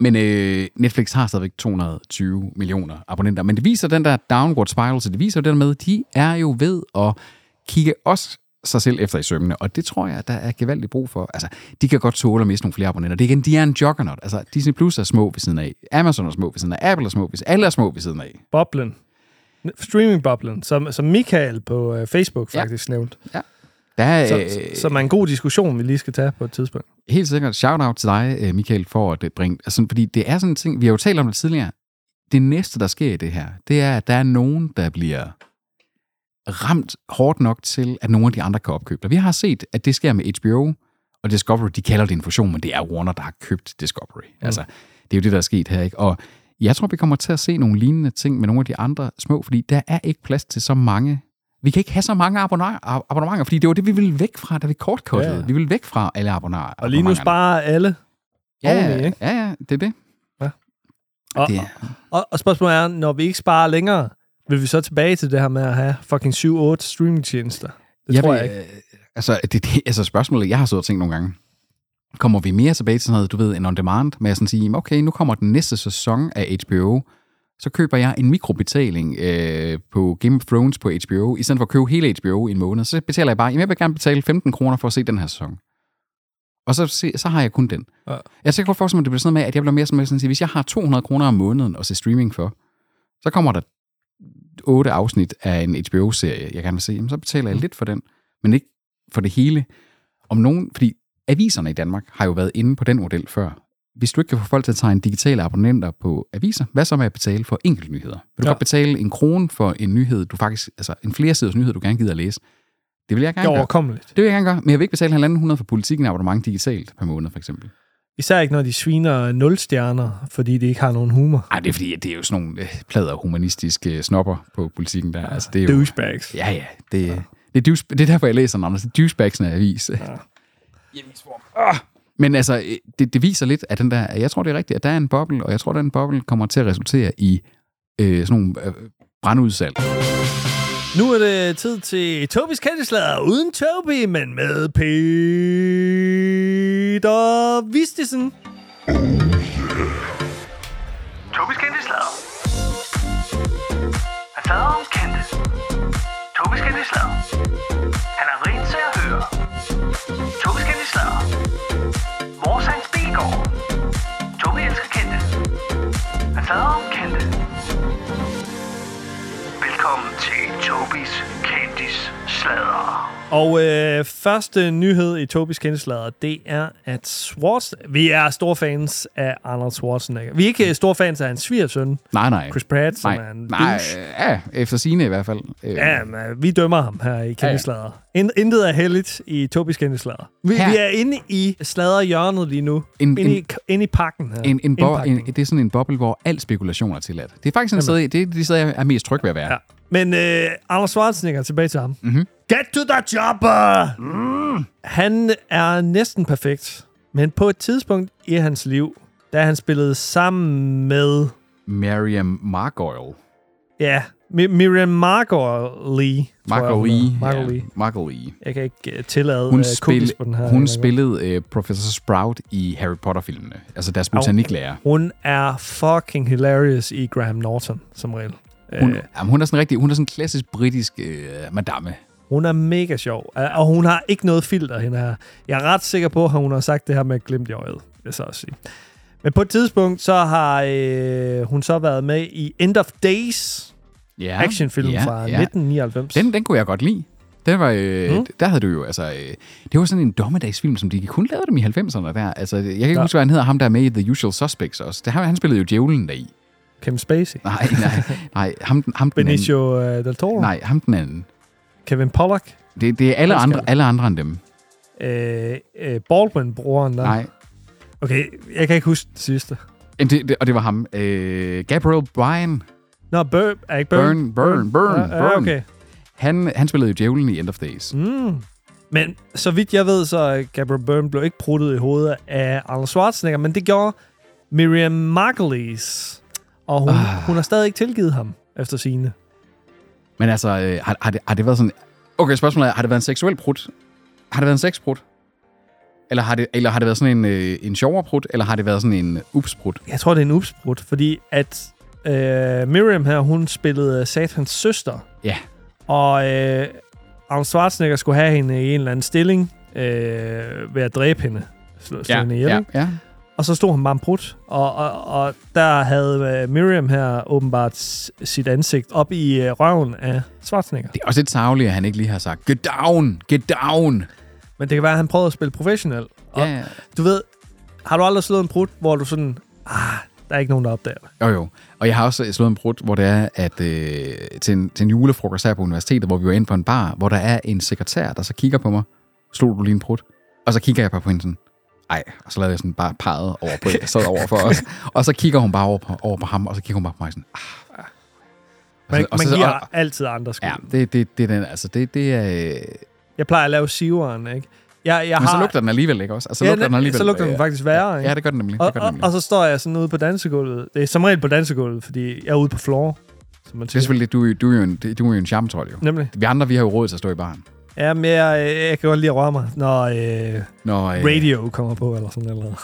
S2: Men øh, Netflix har stadigvæk 220 millioner abonnenter, men det viser den der downward spiral, så det viser jo den med, de er jo ved at kigge os sig selv efter i sømmene, og det tror jeg, der er gevaldigt brug for. Altså, de kan godt tåle at miste nogle flere abonnenter. Det er igen, de er en juggernaut. Altså, Disney Plus er små ved siden af, Amazon er små ved siden af, Apple er små ved siden af, alle er små ved siden af.
S1: Boblen. Streaming-boblen, som, som Michael på uh, Facebook
S2: Ja.
S1: faktisk nævnte.
S2: Der er,
S1: Så,
S2: øh,
S1: som er en god diskussion, vi lige skal tage på et tidspunkt.
S2: helt sikkert shout-out til dig, øh, Michael, for at øh, bringe... Altså, fordi det er sådan en ting, vi har jo talt om det tidligere. Det næste, der sker i det her, det er, at der er nogen, der bliver ramt hårdt nok til, at nogle af de andre kan opkøbe dig. Vi har set, at det sker med HBO og Discovery. De kalder det en fusion, men det er Warner, der har købt Discovery. Mm. Altså, det er jo det, der er sket her, ikke? Og jeg tror, vi kommer til at se nogle lignende ting med nogle af de andre små, fordi der er ikke plads til så mange. Vi kan ikke have så mange abonner- ab- abonnementer, fordi det var det, vi ville væk fra, da vi kortkortede.
S1: Ja, ja.
S2: Vi ville væk fra alle abonnementer.
S1: Og lige nu sparer alle.
S2: ja,
S1: oveni, ikke?
S2: ja, ja, det er det.
S1: Og,
S2: det
S1: og, og, og spørgsmålet er, når vi ikke sparer længere, vil vi så tilbage til det her med at have fucking 7-8 streamingtjenester? Det tror jeg ikke.
S2: Altså, det, det, altså spørgsmålet, jeg har siddet og tænkt nogle gange, kommer vi mere tilbage til sådan noget, du ved, en on-demand, med at sådan sige, "Jamen, okay, nu kommer den næste sæson af HBO, så køber jeg en mikrobetaling øh, på Game of Thrones på HBO, i stedet for at købe hele HBO i en måned, så betaler jeg bare, jamen jeg vil gerne betale 15 kroner for at se den her sæson. Og så, se, så har jeg kun den.
S1: Ja.
S2: Ja. Jeg så kan godt forestille mig, at det bliver sådan noget med, at jeg bliver mere som sådan, at sige, hvis jeg har 200 kroner om måneden at se streaming for, så kommer der otte afsnit af en HBO-serie, jeg gerne vil se, jamen så betaler jeg lidt for den, men ikke for det hele. Om nogen, fordi aviserne i Danmark har jo været inde på den model før. Hvis du ikke kan få folk til at tegne digitale abonnenter på aviser, hvad så med at betale for enkelte nyheder? Vil du
S1: Ja.
S2: ja. godt betale en krone for en nyhed, du faktisk, altså en flersiders nyhed, du gerne gider at læse? Det vil jeg
S1: Det
S2: gerne
S1: er
S2: gøre.
S1: overkommeligt.
S2: Det vil jeg gerne gøre, men jeg vil ikke betale halvanden hundrede for politikken abonnement digitalt per måned, for eksempel.
S1: Især ikke, når de sviner nul stjerner, fordi de ikke har nogen humor.
S2: Nej, det er fordi, at det er jo sådan nogle øh, plader humanistiske snopper på politikken der. Altså, det er jo,
S1: Douchebags.
S2: ja, ja, det, ja. Det, er douche, det er derfor, jeg læser den, Anders. Det er douchebagsene avis. Ja. Men altså, øh, det, det viser lidt, at den der, jeg tror, det er rigtigt, at der er en boble, og jeg tror, den boble kommer til at resultere i øh, sådan nogle øh, brandudsalg.
S1: Nu er det tid til Tobis katteslader uden Tobi, men med Peter Vistisen.
S4: Tobis kendte slader. Han slader om kendte. Tobis kendte slader. Han er rent til at høre. Tobis kendte slader. Vores hans bilgård. Tobi elsker kendte. Han slader om kendte. Velkommen til Tobis kendtis slader.
S1: Og øh, første nyhed i Tobis kendeslader, det er, at Schwarz... Vi er store fans af Arnold Schwarzenegger. Vi er ikke øh, store fans af hans svigersøn,
S2: Nej, nej.
S1: Chris Pratt, som er
S2: nej,
S1: en
S2: nej,
S1: douche.
S2: øh, ja, efter sine i hvert fald. Øh,
S1: Ja, men, vi dømmer ham her i kendeslader. Ja, ja. Intet er heldigt i Tobis kendeslader. Vi,
S2: Her.
S1: vi er inde i sladderhjørnet lige nu.
S2: En-
S1: inde,
S2: en-
S1: i, inde i pakken her.
S2: En, en, bo,
S1: Indpakningen.
S2: en, det er sådan en boble, hvor al spekulation er tilladt. Det er faktisk en sted, det er det sted, jeg er mest tryg ved at være.
S1: Ja. Men øh, Arnold Schwarzenegger, tilbage til ham. Mm-hmm. Get to the chopper! Mm. Han er næsten perfekt, men på et tidspunkt i hans liv, da han spillede sammen med
S2: Miriam Margoyle.
S1: ja, Mi- Miriam Margolyes. tror jeg, hun
S2: Margoyle.
S1: hedder. Margolyes.
S2: Ja, Margoyle.
S1: Jeg kan ikke uh, tillade hun
S2: Hun,
S1: uh,
S2: spil,
S1: på den her.
S2: hun
S1: eller
S2: spillede uh, Professor Sprout i Harry Potter-filmene. Altså deres botaniklærer.
S1: hvad. Hun er fucking hilarious i Graham Norton, som regel.
S2: Hun, jamen, hun er sådan rigtig, hun er sådan en klassisk britisk uh, madame.
S1: Hun er mega sjov, og og hun har ikke noget filter, hende her. Jeg er ret sikker på, at hun har sagt det her med et glimt i øjet, vil jeg så også sige. Men på et tidspunkt, så har øh, hun så været med i End of Days,
S2: Ja,
S1: actionfilm ja, fra ja. 1999.
S2: Den, den kunne jeg godt lide. Den var, øh, mm. Der havde du jo, altså... Øh, det var sådan en dommedagsfilm, som de kun lavede dem i 90'erne der. Altså, jeg kan ikke
S1: Ja.
S2: ja. huske, hvad han hedder, ham der er med i The Usual Suspects også. Det, han, han spillede jo djævlen deri.
S1: Kevin Spacey,
S2: Nej, nej, nej. Ham, den- ham den anden.
S1: Benicio øh, del Toro,
S2: Nej, ham den anden.
S1: Kevin Pollak,
S2: Det, det er alle
S1: Hvad skal
S2: andre, alle andre end dem.
S1: øh, øh, Baldwin-broren der.
S2: Nej.
S1: Okay, jeg kan ikke huske det sidste.
S2: Jamen, Det, det, og det var ham. Øh, Gabriel Bryan.
S1: Nå, Burn, er ikke Burn?
S2: Burn, burn, burn,
S1: Ja, ja,
S2: burn.
S1: okay.
S2: Han, han spillede jo djævlen i End of Days. Mm.
S1: Men så vidt jeg ved, så er Gabriel Byrne blev ikke pruttet i hovedet af Arnold Schwarzenegger, men det gjorde Miriam Margolyes. Og hun, ah. hun har stadig ikke tilgivet ham efter sine.
S2: Men altså, øh, har, har, det, har det været sådan... Okay, spørgsmålet er, har det været en seksuel prut? Har det været en sexprut? Eller har det, eller har det været sådan en, øh, en sjovere prut? Eller har det været sådan en øh, upsprut?
S1: Jeg tror, det er en upsprut, fordi at øh, Miriam her, hun spillede Satans søster.
S2: Ja.
S1: Og øh, Arnold Schwarzenegger skulle have hende i en eller anden stilling øh, ved at dræbe hende. Slå, slå ja, hende ihjel.
S2: ja,
S1: Ja.
S2: ja.
S1: Og så stod han bare en brud, og, og, og der havde øh, Miriam her åbenbart s- sit ansigt op i øh, røven af Schwarzenegger.
S2: Det er også lidt savligt, at han ikke lige har sagt, get down, get down.
S1: Men det kan være, at han prøvede at spille professionel. Og
S2: Ja, ja.
S1: du ved, har du aldrig slået en brud, hvor du sådan, ah, der er ikke nogen, der opdager det.
S2: Jo, jo. Og jeg har også slået en brud, hvor det er, at øh, til, en, til en julefrokost her på universitetet, hvor vi var inde for en bar, hvor der er en sekretær, der så kigger på mig. Slog du lige en brud? Og så kigger jeg bare på hende sådan, ej, og så lavede jeg sådan bare peget over på hende, der sad over for os. Og så kigger hun bare over på, over på ham, og så kigger hun bare på mig sådan, ah. Og
S1: Man,
S2: så- Altså, og
S1: man
S2: så-
S1: giver
S2: og- og-
S1: altid andre skyld.
S2: Ja, det, det, det, er den, altså, det, det er... Øh,
S1: Jeg plejer at lave siveren, ikke? Jeg, jeg
S2: men
S1: har,
S2: så lugter den alligevel, ikke også? Og så
S1: Ja,
S2: lugter
S1: den-
S2: den alligevel.
S1: så lugter den
S2: øh,
S1: faktisk værre, ikke?
S2: Ja, det gør den nemlig.
S1: og,
S2: det gør den
S1: og,
S2: nemlig.
S1: og, så står jeg sådan ude på dansegulvet. Det er som regel på dansegulvet, fordi jeg er ude på floor, som man
S2: det er
S1: siger.
S2: selvfølgelig det, du, er jo- du, er jo en, du er jo en charmetrol, jo.
S1: Nemlig.
S2: Vi andre, vi har jo råd til at stå i baren.
S1: Ja, men jeg, øh, jeg kan godt lide at røre mig, når øh,
S2: Nå, øh,
S1: radio kommer på, eller sådan noget.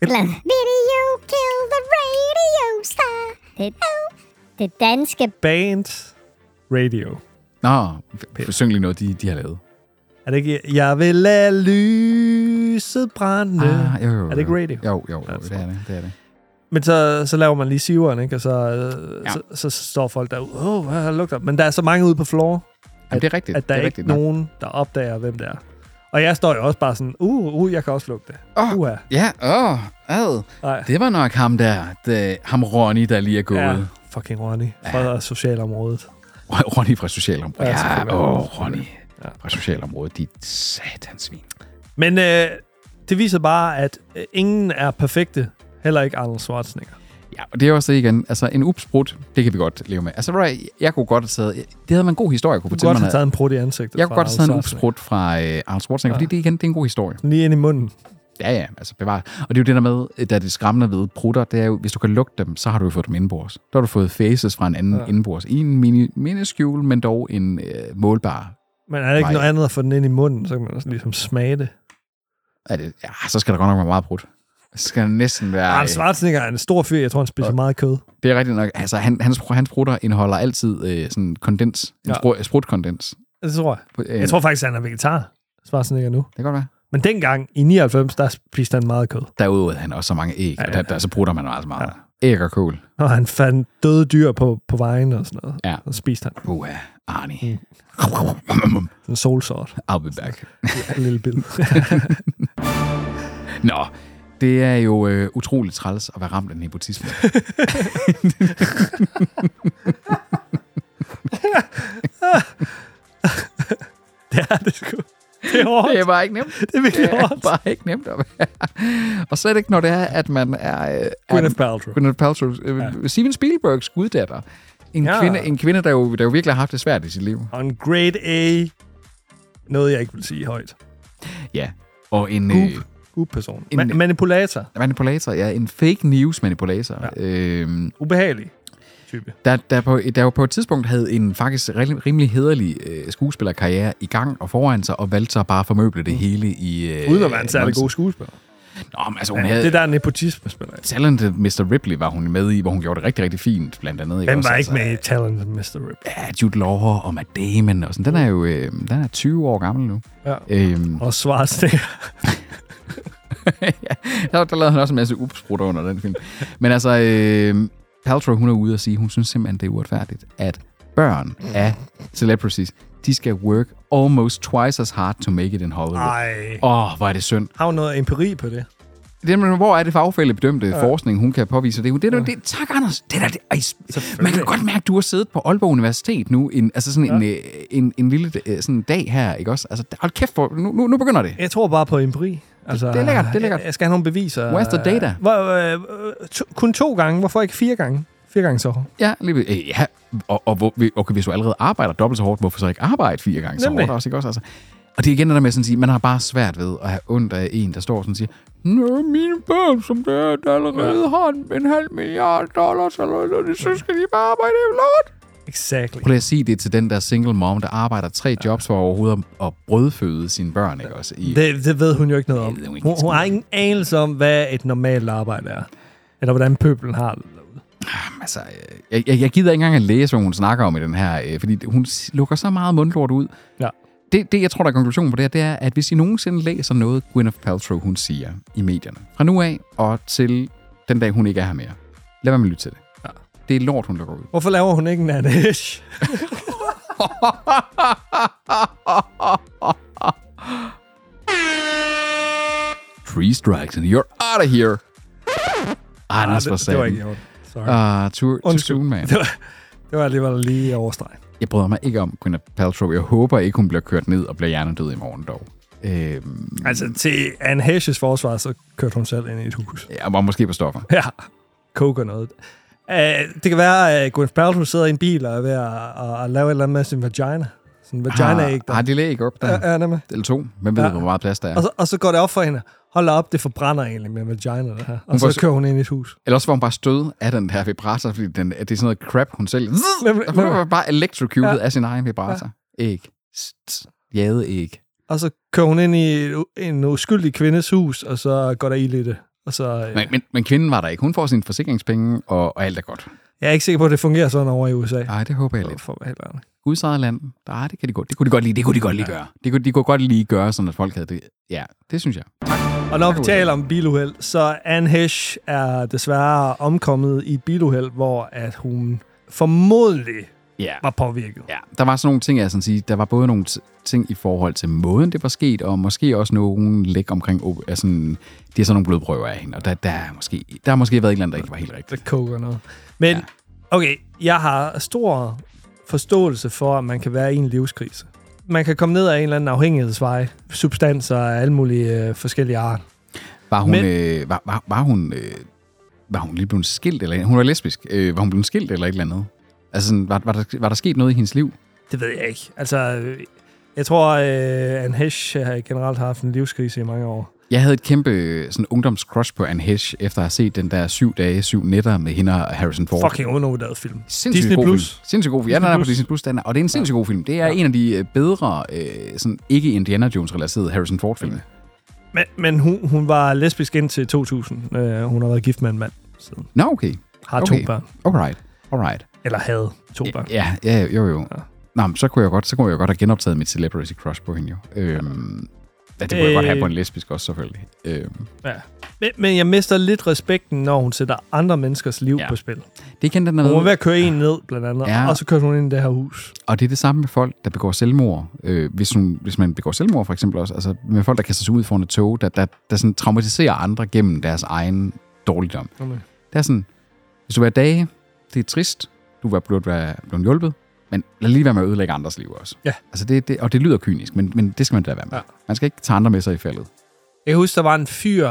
S5: Blandt Video Kill the Radio Star. Det, det danske
S1: Band Radio.
S2: Nå, f- syng lige noget, de, de har lavet.
S1: Er det ikke... Jeg vil lade lyset brænde.
S2: Ah, jo, jo, jo.
S1: Er det ikke Altså. radio?
S2: Jo, jo, jo det er det. det, er det.
S1: Men så, så laver man lige siveren, ikke? Og så, øh,
S2: Ja.
S1: ja. så, så står folk derude. Åh, oh, hvad lugter? Men der er så mange ude på floor,
S2: Jamen, det er rigtigt.
S1: at der
S2: det
S1: er ikke
S2: er rigtigt nok.
S1: nogen, der opdager, hvem det er. Og jeg står jo også bare sådan, uh, uh, jeg kan også lugte det.
S2: Åh.
S1: Uha.
S2: Ja, åh, ad.
S1: Nej.
S2: Det var nok ham der, det, ham Ronny, der lige er gået.
S1: Ja,
S2: Ja.
S1: fucking Ronny fra ja. socialområdet.
S2: Ronny fra Socialområdet.
S1: Ja,
S2: Ja,
S1: selvfølgelig.
S2: åh, Ronny fra Socialområdet, dit satansvin.
S1: Men øh, det viser bare, at øh, ingen er perfekte. Heller ikke Arnold Schwarzenegger.
S2: Ja, og det er også det igen. Altså, en upsprut, det kan vi godt leve med. Altså, ved du hvad, jeg kunne godt have taget... Det havde været en god historie, jeg
S1: Du
S2: kunne
S1: kunne
S2: fortælle
S1: godt
S2: mig.
S1: have
S2: noget.
S1: taget en prut i ansigtet.
S2: Jeg kunne
S1: fra
S2: godt have taget en
S1: Arnold Schwarzenegger.
S2: upsprut fra øh, Arnold Schwarzenegger, ja. fordi det igen, det er en god historie.
S1: Lige ind i munden.
S2: Ja, ja, altså bevar. Og det er jo det der med, øh, der er det skræmmende ved prutter, det er jo, hvis du kan lugte dem, så har du jo fået dem indenbords. Der har du fået faces fra en anden ja. indenbords. I en mini, miniskjul, men dog en øh, målbar.
S1: Men er det ikke Nej.
S2: Nej.
S1: noget andet at få den ind i munden, så kan man også ligesom smage det.
S2: Er det, ja, så skal der godt nok være meget brudt. Så skal der næsten være... øh,
S1: Arnold Schwarzenegger er en stor fyr. Jeg tror, han spiser meget kød.
S2: Det er rigtigt nok. Altså, han, hans, hans prutter indeholder altid øh, sådan kondens. En
S1: Ja.
S2: ja. sprutkondens.
S1: Det tror jeg.
S2: Øh,
S1: Jeg tror faktisk, han er vegetar, Schwarzenegger nu.
S2: Det kan godt være.
S1: Men dengang, i 99, der spiste han meget kød.
S2: Derudover havde han også så mange æg, ja, ja. og der, der, så bruger man altså meget. Ja. Æg og kål.
S1: Og han fandt døde dyr på, på vejen og sådan noget.
S2: Ja.
S1: Og spiste han.
S2: Uha, Arnie. Mm.
S1: En solsort.
S2: I'll be back.
S1: En lille bild.
S2: Nå, det er jo øh, utroligt træls at være ramt af nepotisme.
S1: det er det sgu. Det er hårdt.
S2: det er bare ikke nemt.
S1: Det er virkelig
S2: Det er
S1: hårdt.
S2: bare ikke nemt at være. Og slet ikke, når det er, at man er... Øh,
S1: Gwyneth
S2: er-
S1: Paltrow.
S2: Gwyneth Paltrow. Øh, ja. Steven Spielbergs guddatter. En, ja.
S1: Ja.
S2: kvinde, en kvinde, der jo, der jo virkelig har haft det svært i sit liv.
S1: Og en grade A. Noget, jeg ikke vil sige højt.
S2: Ja. Og en...
S1: Goop.
S2: Øh,
S1: Good person.
S2: En-
S1: Ma- manipulator.
S2: manipulator, ja. En fake news manipulator. Ja. Øhm,
S1: Ubehagelig type.
S2: der, der, på, der jo på et tidspunkt havde en faktisk rim- rimelig hederlig øh, skuespillerkarriere i gang og foran sig, og valgte så bare at formøble det hele i... Øh,
S1: Uden at være en særlig
S2: nonsens.
S1: god skuespiller.
S2: Nå, men altså, hun
S1: Ja,
S2: havde,
S1: det der er nepotisme, spiller jeg.
S2: Talented Mr. Ripley var hun med i, hvor hun gjorde det rigtig, rigtig fint, blandt andet.
S1: Hvem var ikke
S2: altså,
S1: med i Talent Mr. Rip?
S2: Ja, Jude Law og Matt Damon og sådan. Den er jo øh, den er 20 år gammel nu.
S1: Ja.
S2: Øhm,
S1: Og Schwarzenegger.
S2: ja, der, der lavede han også en masse upsprutter under den film. Men altså, øh, Paltrow, hun er ude og sige, hun synes simpelthen, det er uretfærdigt, at børn af celebrities, de skal work almost twice as hard to make it in Hollywood.
S1: Ej.
S2: Åh, oh, hvor er det synd.
S1: Har hun noget empiri på det?
S2: Det, men hvor er det fagfælde bedømte ja. forskning, hun kan påvise det? Det, er jo det, tak, Anders. Det der, det, ej, man kan godt mærke, at du har siddet på Aalborg Universitet nu, en, altså sådan ja. en, øh, en, en, lille øh, sådan en dag her, ikke også? Altså, hold kæft, for, nu, nu, nu begynder det.
S1: Jeg tror bare på empiri. Altså,
S2: det er lækkert, det er lækkert.
S1: Jeg skal have nogle beviser.
S2: Where's the data?
S1: Hvor, øh, øh, to, kun to gange. Hvorfor ikke fire gange? Fire gange så hårdt.
S2: Ja, lige, ved- øh, ja. Og, og, hvor, okay, hvis du allerede arbejder dobbelt så hårdt, hvorfor så ikke arbejde fire gange så
S1: Nemlig.
S2: hårdt også, ikke også? Altså, og det er igen det der med sådan at sige, man har bare svært ved at have ondt af en, der står sådan og siger, Nå, mine børn, som det er, der allerede har en, en halv milliard dollars, eller, eller det, så skal de bare arbejde i lort.
S1: Exactly.
S2: Prøv lige at sige det til den der single mom, der arbejder tre jobs for overhovedet at- at brødføde sine børn, ikke også? I,
S1: Det, det ved hun jo ikke noget om.
S2: Det ved hun ikke
S1: Hun,
S2: en
S1: hun
S2: skid
S1: har ingen anelse om, hvad et normalt arbejde er. Eller hvordan pøbelen har det.
S2: altså, øh, jeg, jeg, jeg gider ikke engang at læse, hvad hun snakker om i den her, øh, fordi hun s- lukker så meget mundlort ud.
S1: Ja.
S2: Det, det, jeg tror, der er konklusionen på det her, det er, at hvis I nogensinde læser noget, Gwyneth Paltrow, hun siger i medierne, fra nu af og til den dag, hun ikke er her mere, lad være med at lytte til det. Ja. Det er lort, hun lukker ud.
S1: Hvorfor laver hun ikke en Anish?
S2: Three strikes and you're out of here. Anders, Altså, for
S1: Ah, det, det var
S2: satan.
S1: ikke gjort. Sorry. Uh,
S2: Ah, too, too
S1: Undskyld.
S2: soon, man.
S1: det var alligevel lige overstreg.
S2: Jeg bryder mig ikke om Gwyneth Paltrow. Jeg håber ikke, hun bliver kørt ned og bliver hjernedød i morgen dog. Øhm,
S1: Altså, til Anne Heshes forsvar, så kørte hun selv ind i et hus.
S2: jeg var måske på stoffer.
S1: Ja, koker noget. Uh, det kan være, at Gwyneth Paltrow sidder i en bil og er ved at, at, at lave et eller andet med sin vagina. Sådan en vagina æg
S2: Ah, har, har de læg ikke op der?
S1: Ja, ja, nemlig.
S2: Eller to? Hvem ved,
S1: Ja. Altså-
S2: hvor meget plads der er?
S1: Og så, og så går det op for hende. Hold da op, det forbrænder egentlig med vagina, det her. Og
S2: får
S1: så
S2: så-
S1: kører hun ind i et hus.
S2: Eller også var hun bare stød af den her vibrator, fordi den, det er sådan noget crap, hun selv...
S1: Hvem-
S2: Hun var bare electrocuted
S1: Ja.
S2: af sin egen vibrator. Ikke. jade æg.
S1: Og så kører hun ind i et u- en uskyldig kvindes hus, og så går der ild i det. Og så, øh,
S2: Men, men, men kvinden var der ikke. Hun får sine forsikringspenge, og, og alt er godt.
S1: jeg er ikke sikker på, at det fungerer sådan over i USA.
S2: Nej, det håber jeg lidt.
S1: For at være helt ærlig.
S2: Guds eget land, nej, det kan de godt. Det kunne de godt lige, det kunne de godt lige gøre. Det kunne, de kunne godt lige gøre, sådan at folk havde det. Ja, det synes jeg.
S1: Og når vi
S2: Okay.
S1: taler om biluheld, så Anne Hesh er desværre omkommet i et biluheld, hvor at hun formodentlig
S2: Ja.
S1: var påvirket.
S2: Ja, der var sådan nogle ting, jeg sådan sige, der var både nogle t- ting i forhold til måden, det var sket, og måske også nogle læk omkring, op- altså, det er sådan nogle blodprøver af hende, og der, der, er måske, der har måske været et eller andet, der ikke var helt rigtigt.
S1: Det koger noget. Men
S2: Ja.
S1: okay, jeg har stor forståelse for, at man kan være i en livskrise. Man kan komme ned ad en eller anden afhængighedsvej, substanser af alle mulige øh, forskellige art.
S2: Var hun,
S1: Men-
S2: øh, var, var, var hun, øh, var hun lige blevet skilt, eller hun var lesbisk, øh, var hun blevet skilt eller et eller andet? Altså, sådan, var, var, der, var der sket noget i hendes liv?
S1: Det ved jeg ikke. Altså, øh, jeg tror, øh, Anne Hesh har generelt haft en livskrise i mange år.
S2: Jeg havde et kæmpe øh, sådan, ungdomscrush på Anne Hesh, efter at have set den der syv dage, syv nætter med hende og Harrison Ford.
S1: Fucking undervurderet film.
S2: Sindssygt
S1: Disney
S2: god
S1: Plus.
S2: Film. Sindssygt god film. Ja, den er på Disney Plus. Den er, og det er en sindssygt god film. Det er ja. en af de øh, bedre, øh, sådan ikke Indiana Jones-relaterede Harrison Ford-film.
S1: Men, men hun, hun var lesbisk indtil 2000. Øh, hun har været gift med en mand siden.
S2: Nå, okay.
S1: Har okay.
S2: Okay.
S1: to børn.
S2: Alright. Alright.
S1: Eller havde to børn.
S2: Ja, ja, jo, jo. Nå, men så kunne jeg godt, så kunne jeg godt have genoptaget mit celebrity crush på hende jo. Øhm, ja, det kunne jeg godt have på en lesbisk også, selvfølgelig. Øhm,
S1: Ja. Men, men jeg mister lidt respekten, når hun sætter andre menneskers liv ja.
S2: Ja.
S1: på spil.
S2: det kan den
S1: Hun var ved
S2: noget.
S1: at køre en ned, blandt andet, ja.
S2: Ja.
S1: og så kørte hun ind i det her hus.
S2: Og det er det samme med folk, der begår selvmord. Øh, hvis, hun, hvis man begår selvmord for eksempel også, altså med folk, der kaster sig ud foran et tog, der, der, der sådan traumatiserer andre gennem deres egen dårligdom.
S1: Okay.
S2: Det er sådan, hvis du er dage, det er trist, du er blevet, være- blevet hjulpet, men lad lige være med at ødelægge andres liv også.
S1: Ja.
S2: Altså det, det, og det lyder kynisk, men, men det skal man da være med.
S1: Ja.
S2: Ja. Man skal ikke tage andre med sig i fældet.
S1: Jeg husker, der var en fyr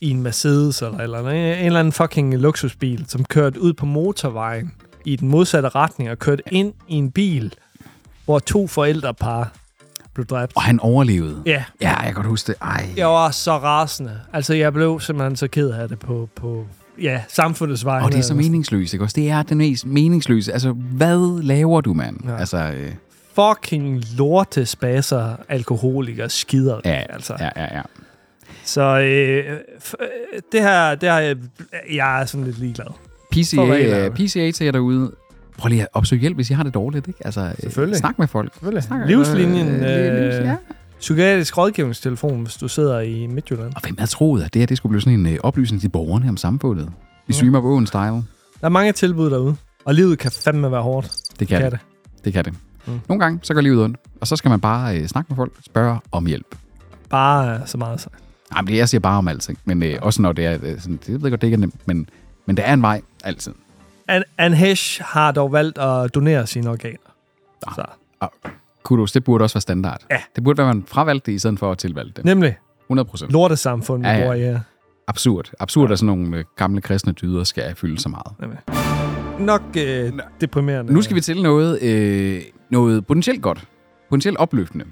S1: i en Mercedes eller, et eller andet, en eller anden fucking luksusbil, som kørte ud på motorvejen i den modsatte retning og kørte ind i en bil, hvor to forældrepar blev dræbt.
S2: Og han overlevede.
S1: Ja,
S2: Ja, jeg kan godt huske det. Ej.
S1: jeg var så rasende. Altså, jeg blev simpelthen så ked af det på, på ja, samfundets vej.
S2: Og det er så meningsløst, ikke også? Det er den mest meningsløse. Altså, hvad laver du, mand?
S1: Ja.
S2: Ja. Altså, øh,
S1: Fucking lorte spasser, alkoholikere, skider.
S2: ja,
S1: altså.
S2: ja, ja, ja.
S1: Så øh, f- øh, det her, det her, øh, jeg er sådan lidt ligeglad. For at være helt
S2: PCA,
S1: ærlig.
S2: PCA til jer derude. Prøv lige at opsøge hjælp, hvis I har det dårligt, ikke? Altså, øh,
S1: Selvfølgelig.
S2: snak med folk. Snak,
S1: Livslinjen,
S2: øh, livs-
S1: øh,
S2: ja.
S1: Psykiatrisk rådgivningstelefon, hvis du sidder i Midtjylland.
S2: Og hvem havde troet, at det her det skulle blive sådan en øh, oplysning til borgerne om samfundet? Vi streamer på åen style.
S1: Der er mange tilbud derude, og livet kan fandme være hårdt.
S2: Det kan,
S1: Kan
S2: det. det. Det kan det. Mm. Nogle gange, så går livet ondt. Og så skal man bare øh, snakke med folk, spørge om hjælp.
S1: Bare øh, så meget sagt.
S2: Ej, men det jeg siger bare om alting. Men øh, også når det er øh, sådan, det ved jeg godt, det ikke er nemt. Men, men der er en vej, altid.
S1: An, Anne Hesh har dog valgt at donere sine organer.
S2: Ah.
S1: Så.
S2: Og kudos, det burde også være standard.
S1: Ja.
S2: Det burde være, at man fravalgte det, i stedet for at tilvalgte det.
S1: Nemlig
S2: 100 procent.
S1: lortesamfund, ja,
S2: Ja,
S1: ja.
S2: ja.
S1: hvor jeg er.
S2: Absurd. Absurd, at sådan nogle øh, gamle kristne dyder skal fylde så meget.
S1: Nok øh, deprimerende.
S2: Nu skal vi til noget, øh, noget potentielt godt. Potentielt opløftende.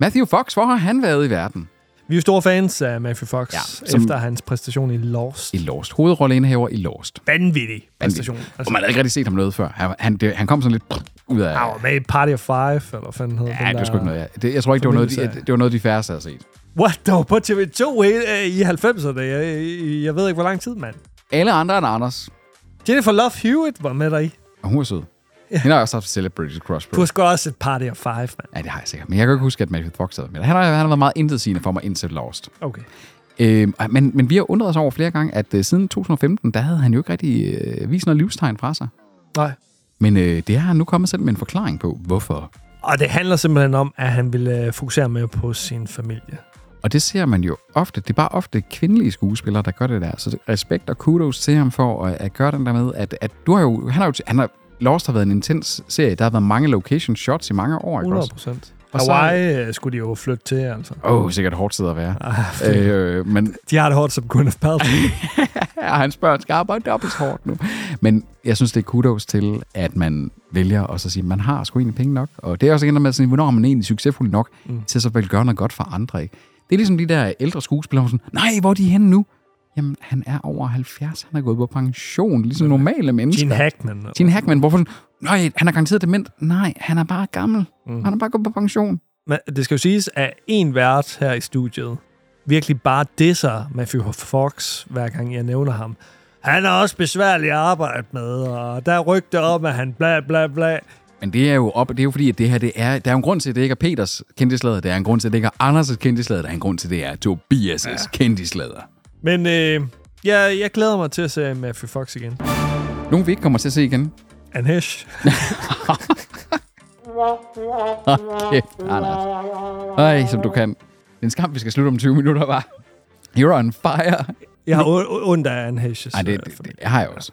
S2: Matthew Fox, hvor har han været i verden?
S1: vi er jo store fans af Matthew Fox, ja,
S2: Ja,
S1: som...
S2: som-
S1: efter hans præstation i Lost.
S2: I Lost. Hovedrolleindehaver i Lost.
S1: Vanvittig præstation.
S2: Og
S1: Altså,
S2: man havde ikke rigtig set ham noget før. Han, han, det, han kom sådan lidt ud af...
S1: han var med i Party of Five, eller hvad fanden hed
S2: Ja, det var sgu ikke noget, ja. det, jeg tror ikke, det var noget,
S1: Familieserie.
S2: de, det var noget, de færreste har set.
S1: What? Der var på TV2 i, eh, i 90'erne. Jeg, jeg, jeg ved ikke, hvor lang tid, mand.
S2: Alle andre end Anders,
S1: Jennifer Love Hewitt var med dig i.
S2: og hun er sød. Ja. Hende har jeg også haft Celebrity Crush
S1: Du
S2: på.
S1: har sgu også et party of five, mand.
S2: Ja, det har jeg sikkert. Men jeg kan ikke huske, at Matthew Fox havde med. Han har, han har været meget intetsigende for mig indtil Lost.
S1: Okay.
S2: Øhm, og- men, men vi har undret os over flere gange, at øh, siden 2015, der havde han jo ikke rigtig øh, vist noget livstegn fra sig.
S1: Nej.
S2: Men øh, det har han nu kommet selv med en forklaring på, hvorfor.
S1: Og det handler simpelthen om, at han ville øh, fokusere mere på sin familie.
S2: Og det ser man jo ofte. Det er bare ofte kvindelige skuespillere, der gør det der. Så respekt og kudos til ham for at, at gøre den der med, at, at du har jo... Han har jo han har, Lost har været en intens serie. Der har været mange location shots i mange år. ikke
S1: 100
S2: også?
S1: procent.
S2: Og så-
S1: Hawaii øh, skulle de jo flytte til, altså. Ah,
S2: Åh, oh, sikkert hårdt sted at være. øh, men
S1: De har det hårdt som Gwyneth Paltrow.
S2: ja, hans børn skal arbejde dobbelt så hårdt nu. Men jeg synes, det er kudos til, at man vælger og så sige, at man har sgu egentlig penge nok. Og det er også en med, sådan, hvornår er man egentlig succesfuld nok mm. til at så vel gøre noget godt for andre. Ikke? Det er ligesom de der ældre skuespillere, hvor man sådan, nej, hvor er de henne nu? Jamen, han er over 70, han er gået på pension, ligesom normale mennesker.
S1: Gene Hackman.
S2: Gene Hackman, hvorfor sådan, nej, han er garanteret dement. Nej, han er bare gammel. Mm. Han er bare gået på pension.
S1: Men det skal jo siges, at en vært her i studiet virkelig bare disser Matthew Fox, hver gang jeg nævner ham. Han er også besværlig at arbejde med, og der er rygter om, at han bla bla bla.
S2: Men det er jo op, det er jo fordi, at det her, det er, der er jo en grund til, at det ikke er Peters kendtislader, der er en grund til, at det ikke er Anders' kendtislader, der er en grund til, at det er Tobias' ja. kendtislader.
S1: Men øh, jeg, jeg glæder mig til at se Matthew Fox igen.
S2: Nogle vi ikke kommer til at se igen.
S1: Anesh.
S2: Hold kæft, Anders. Ej, som du kan. Det er en skam, vi skal slutte om 20 minutter, var. You're on fire.
S1: Jeg har o- o- ondt af Anesh.
S2: Ej, det, det, det har jeg også.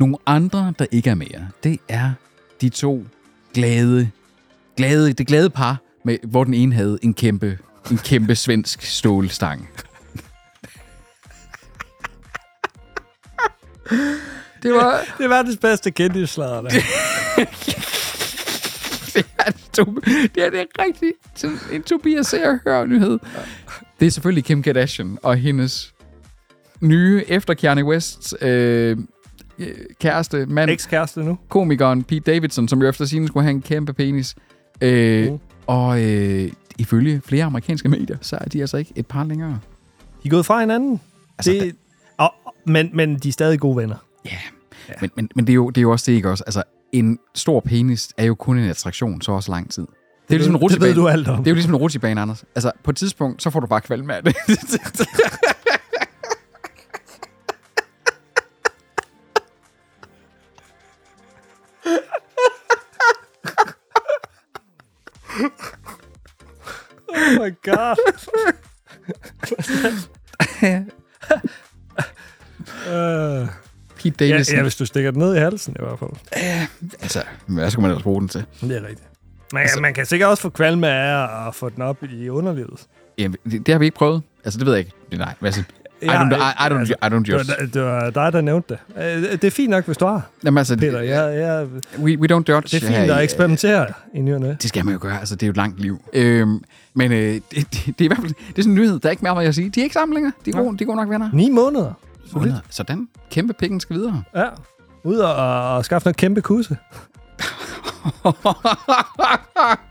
S2: Nogle andre, der ikke er mere, det er de to glade, glade, det glade par, med, hvor den ene havde en kæmpe, en kæmpe svensk stålstang. Det var,
S1: det er verdens bedste kendtislader, der.
S2: det er, to- det er, det er rigtig sådan en Tobias ser hører nyhed. Det er selvfølgelig Kim Kardashian og hendes nye efter Kanye Wests øh, øh, kæreste, mand,
S1: Ekskæreste nu.
S2: komikeren Pete Davidson, som jo efter sine skulle have en kæmpe penis. Øh, mm. Og øh, ifølge flere amerikanske medier, så er de altså ikke et par længere.
S1: De er gået fra hinanden. Altså, det, og, men, men de er stadig gode venner.
S2: Ja, men, men, men det, er jo, det er jo også det, ikke også? Altså, en stor penis er jo kun en attraktion, så også lang tid. Det er jo ligesom en
S1: ved- det ved
S2: rutsjebane.
S1: du alt om.
S2: Det er jo ligesom en rutsjebane, Anders. Altså, på et tidspunkt, så får du bare kvalme af det.
S1: Oh my god. uh,
S2: Pete
S1: ja,
S2: Davidson.
S1: ja, hvis du stikker den ned i halsen i hvert fald.
S2: Altså, hvad skal man ellers bruge den til?
S1: Det er rigtigt. Men altså, man kan sikkert også få kvalme af at få den op i underlivet.
S2: Jamen, det, det har vi ikke prøvet. Altså, det ved jeg ikke. Nej, men altså, I don't, I, I don't, I don't
S1: altså, det,
S2: just...
S1: var, det var dig, der nævnte det. Øh, Det er fint nok, hvis du har,
S2: Jamen, altså,
S1: Peter. Jeg, jeg,
S2: we, we don't judge.
S1: det er fint
S2: her
S1: at
S2: i-
S1: eksperimentere i ny og næ.
S2: Det skal man jo gøre, altså det er jo et langt liv. Øhm, men øh, det, det, det, er i hvert fald det er sådan en nyhed, der er ikke mere, hvad jeg siger. De er ikke sammen længere. De er gode, de er gode nok venner.
S1: Ni måneder.
S2: Måneder. Sådan. Kæmpe pikken skal videre.
S1: Ja. Ud og, og, og skaffe noget kæmpe kusse.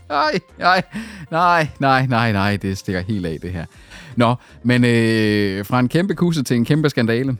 S2: nej, nej, nej, nej, nej, nej, det stikker helt af det her. Nå, men øh, fra en kæmpe kusse til en kæmpe skandale.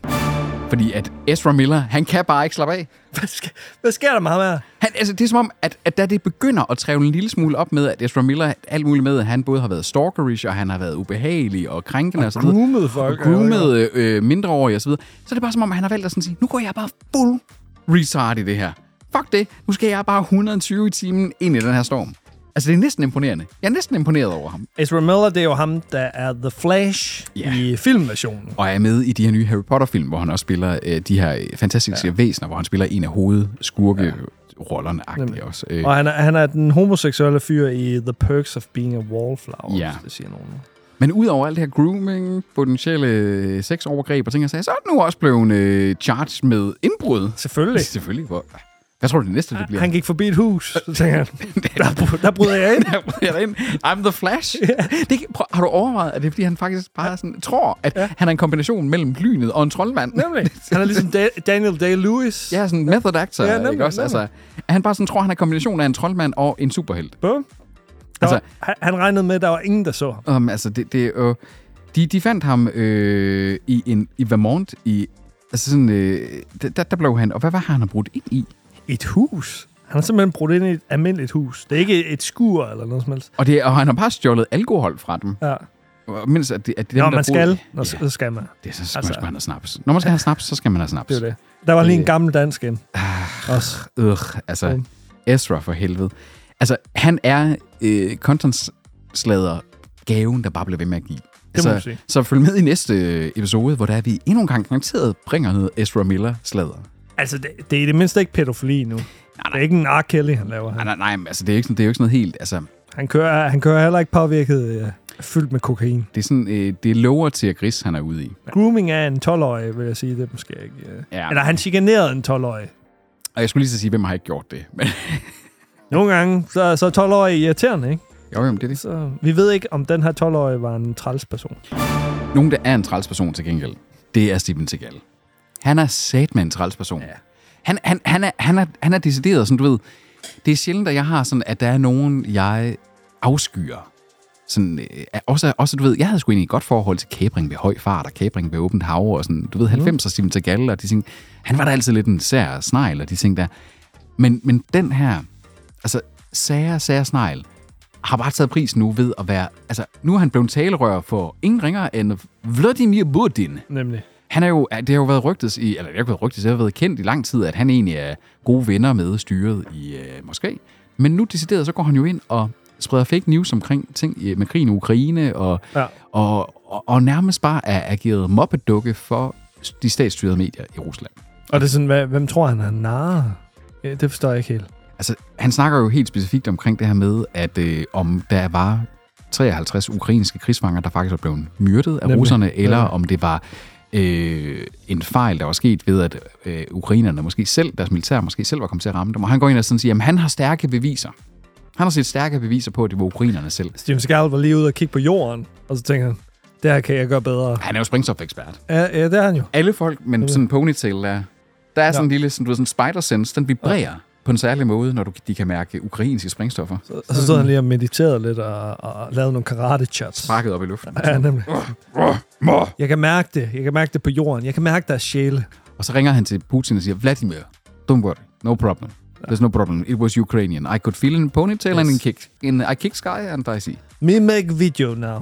S2: Fordi at Ezra Miller, han kan bare ikke slappe af.
S1: Hvad, sker, hvad sker der med ham her?
S2: Han, altså, det er som om, at, at da det begynder at trævle en lille smule op med, at Ezra Miller alt muligt med, at han både har været stalkerish, og han har været ubehagelig og krænkende og, så videre.
S1: Groomet folk.
S2: groomet øh, mindreårige og så videre, så er det bare som om, at han har valgt at sådan sige, nu går jeg bare full retard i det her. Fuck det, nu skal jeg bare 120 i timen ind i den her storm. Altså, det er næsten imponerende. Jeg er næsten imponeret over ham.
S1: Ezra Miller, det er jo ham, der er The Flash
S2: Ja.
S1: yeah. i filmversionen.
S2: Og er med i de her nye Harry Potter-film, hvor han også spiller øh, de her øh, fantastiske ja. væsener, hvor han spiller en af hovedskurkerollerne ja. også. Øh,
S1: Og han er, han er den homoseksuelle fyr i The Perks of Being a Wallflower,
S2: Ja.
S1: ja. hvis det siger nogen.
S2: Men udover alt det her grooming, potentielle øh, sexovergreb og ting, og sager, så er den nu også blevet øh, charged med indbrud.
S1: Selvfølgelig.
S2: Selvfølgelig. Hvor... Hvad tror du, det næste det bliver?
S1: Han gik forbi et hus, så tænker han, der, br- der bryder jeg ind.
S2: Jeg er ind. I'm the Flash. Det, kan- prøv, har du overvejet, at det er, fordi han faktisk bare sådan, tror, at ja. han er en kombination mellem lynet og en troldmand?
S1: Nemlig. Han er ligesom da- Daniel Day-Lewis.
S2: Ja, sådan en method actor,
S1: Ja,
S2: ja,
S1: nemlig,
S2: ikke også? Altså,
S1: nemlig.
S2: at han bare sådan tror, han er en kombination af en troldmand og en superhelt.
S1: Bum. Der
S2: Altså-
S1: var, han- han regnede med, at der var ingen, der så ham.
S2: Um, altså, det, det, øh, de, de fandt ham øh, i, en, i Vermont i... Altså sådan, øh, der, der blev han... Og hvad var han har brudt ind i?
S1: Et hus? Han har simpelthen brudt ind i et almindeligt hus. Det er ikke et skur eller noget som helst.
S2: Og, det, og han har bare stjålet alkohol fra dem.
S1: Ja.
S2: Og Mens at, det- at dem,
S1: Når
S2: der
S1: man
S2: boede-
S1: skal, når,
S2: Ja,
S1: så skal man.
S2: det er så skal altså,
S1: altså-
S2: man sgu have noget snaps. Når man skal have snaps, så skal man have snaps.
S1: Det er jo det. Der var lige en gammel dansk ind.
S2: Ah,
S1: Også.
S2: Ugh, altså, Ezra for helvede. Altså, han er øh, contentslader gaven, der bare bliver ved med at give.
S1: Det må
S2: altså,
S1: man sige.
S2: Så følg med i næste øh, episode, hvor der er vi endnu en gang garanteret bringer noget Ezra Miller-slader.
S1: Altså, det, det er i det mindste ikke pædofili nu. Det er ikke en R. Kelly, han laver.
S2: Nej,
S1: Han,
S2: nej, nej, men altså, det er jo ikke, sådan, det er jo ikke sådan noget helt... Altså,
S1: han, kører, han kører heller ikke påvirket øh, fyldt med kokain.
S2: det er sådan, øh, det er lover til at gris, han er ude i.
S1: Grooming af en 12-årig, vil jeg sige. Det er måske ikke... Øh.
S2: Ja.
S1: Eller han chikanerede en 12-årig.
S2: Og jeg skulle lige så sige, hvem har ikke gjort det? Men,
S1: Nogle gange, så, så er 12-årige irriterende, ikke?
S2: jo, jo, men det er det.
S1: Så vi ved ikke, om den her 12-årige var en træls person.
S2: Nogen, der er en træls person til gengæld, det er Steven Seagal. Han er sat med en træls person. Ja. Han, han, han, er, han, er, han er decideret, sådan du ved, det er sjældent, at jeg har sådan, at der er nogen, jeg afskyer. Sådan, øh, også, også, du ved, jeg havde sgu egentlig et godt forhold til Kæbring ved høj fart, og Kæbring ved åbent hav, og sådan, du ved, 90'er Steven Seagal, og de ting, han var da altid lidt en sær snegl, og de ting der. Men, men den her, altså, Sager, Sager Snegl, har bare taget pris nu ved at være... Altså, nu er han blevet talerør for ingen ringer end Vladimir Putin.
S1: Nemlig.
S2: Han er jo, det har jo været rygtet i, eller det har ikke været rygtet, det har været kendt i lang tid, at han egentlig er gode venner med styret i øh, Moskva. Men nu decideret, så går han jo ind og spreder fake news omkring ting øh, med krigen i Ukraine, og,
S1: Ja.
S2: ja. og, og, og nærmest bare er ageret mobbedukke for de statsstyrede medier i Rusland.
S1: Og det er sådan, hvad, hvem tror han er narre? Ja, det forstår jeg ikke helt.
S2: Altså, han snakker jo helt specifikt omkring det her med, at øh, om der var 53 ukrainske krigsfanger, der faktisk var blevet myrdet af
S1: Nemlig.
S2: russerne, eller
S1: Ja.
S2: om det var øh, en fejl, der var sket ved, at øh, ukrainerne måske selv, deres militær måske selv var kommet til at ramme dem. Og han går ind og sådan siger, at han har stærke beviser. Han har set stærke beviser på, at det var ukrainerne selv.
S1: Steven Seagal var lige ude og kigge på jorden, og så tænker han, det her kan jeg gøre bedre.
S2: Han er jo springstofekspert.
S1: Ja, ja det er han jo.
S2: Alle folk, men sådan en ponytail, der, der er sådan en lille sådan, du ved, sådan spider sense, den vibrerer på en særlig måde, når du, de kan mærke ukrainske springstoffer. Så
S1: Og så stod han lige og mediterede lidt og, og lavede nogle karate-shots.
S2: sparket op i luften.
S1: Ja, nemlig.
S2: Mor!
S1: Jeg kan mærke det. Jeg kan mærke det på jorden. Jeg kan mærke deres sjæle.
S2: Og så ringer han til Putin og siger, Vladimir, don't worry, no problem. There's no problem. It was Ukrainian. I could feel in ponytail yes. and in kick. In, I kick sky and I see.
S1: Me make video now.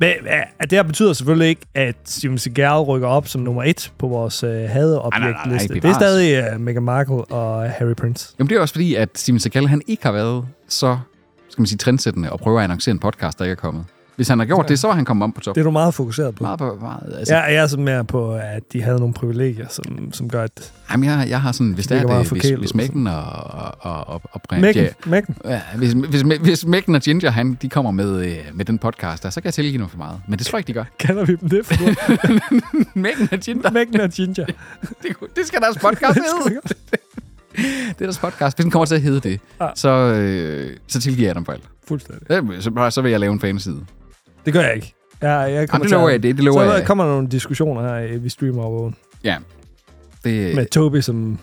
S1: Men ja, det her betyder selvfølgelig ikke, at Steven Seagal rykker op som nummer et på vores øh,
S2: Nej, nej, nej,
S1: hadeobjektliste.
S2: bevares.
S1: Det er stadig øh, Meghan Markle og Harry Prince.
S2: Jamen det er også fordi, at Steven Seagal, han ikke har været så, skal man sige, trendsættende og prøver at annoncere en podcast, der ikke er kommet. Hvis han har gjort det, så var han kommet om på
S1: Det
S2: top. Det
S1: er du meget fokuseret på.
S2: meget, meget, meget. Altså, ja.
S1: Jeg, jeg er sådan mere på, at de havde nogle privilegier, som, som gør, at...
S2: jamen, jeg, jeg har sådan, hvis
S1: Det
S2: det er altså.
S1: virker meget
S2: det,
S1: forkælet,
S2: hvis, hvis Mækken og, og, og, og, og Brian-
S1: Meghan,
S2: Ja,
S1: Meghan.
S2: Ja, hvis, hvis, hvis Mækken og Ginger, han, de kommer med, øh, med den podcast der, så kan jeg tilgive noget for meget. Men det tror jeg ikke, de gør.
S1: Kalder vi dem det? For nu?
S2: Mækken og Ginger.
S1: Meghan og Ginger.
S2: Det, kunne- det skal deres podcast hedde. det er deres podcast. Hvis den kommer til at hedde det,
S1: Ja.
S2: så, øh, så tilgiver jeg dem for alt.
S1: Fuldstændig.
S2: Ja, Så, så vil jeg lave en fanside.
S1: Det gør jeg ikke. Ja, jeg kommer
S2: det
S1: til at-
S2: lover jeg, det- det lover
S1: så
S2: jeg.
S1: kommer der nogle diskussioner her, øh, vi streamer over vågen.
S2: Ja. Det
S1: Med Toby som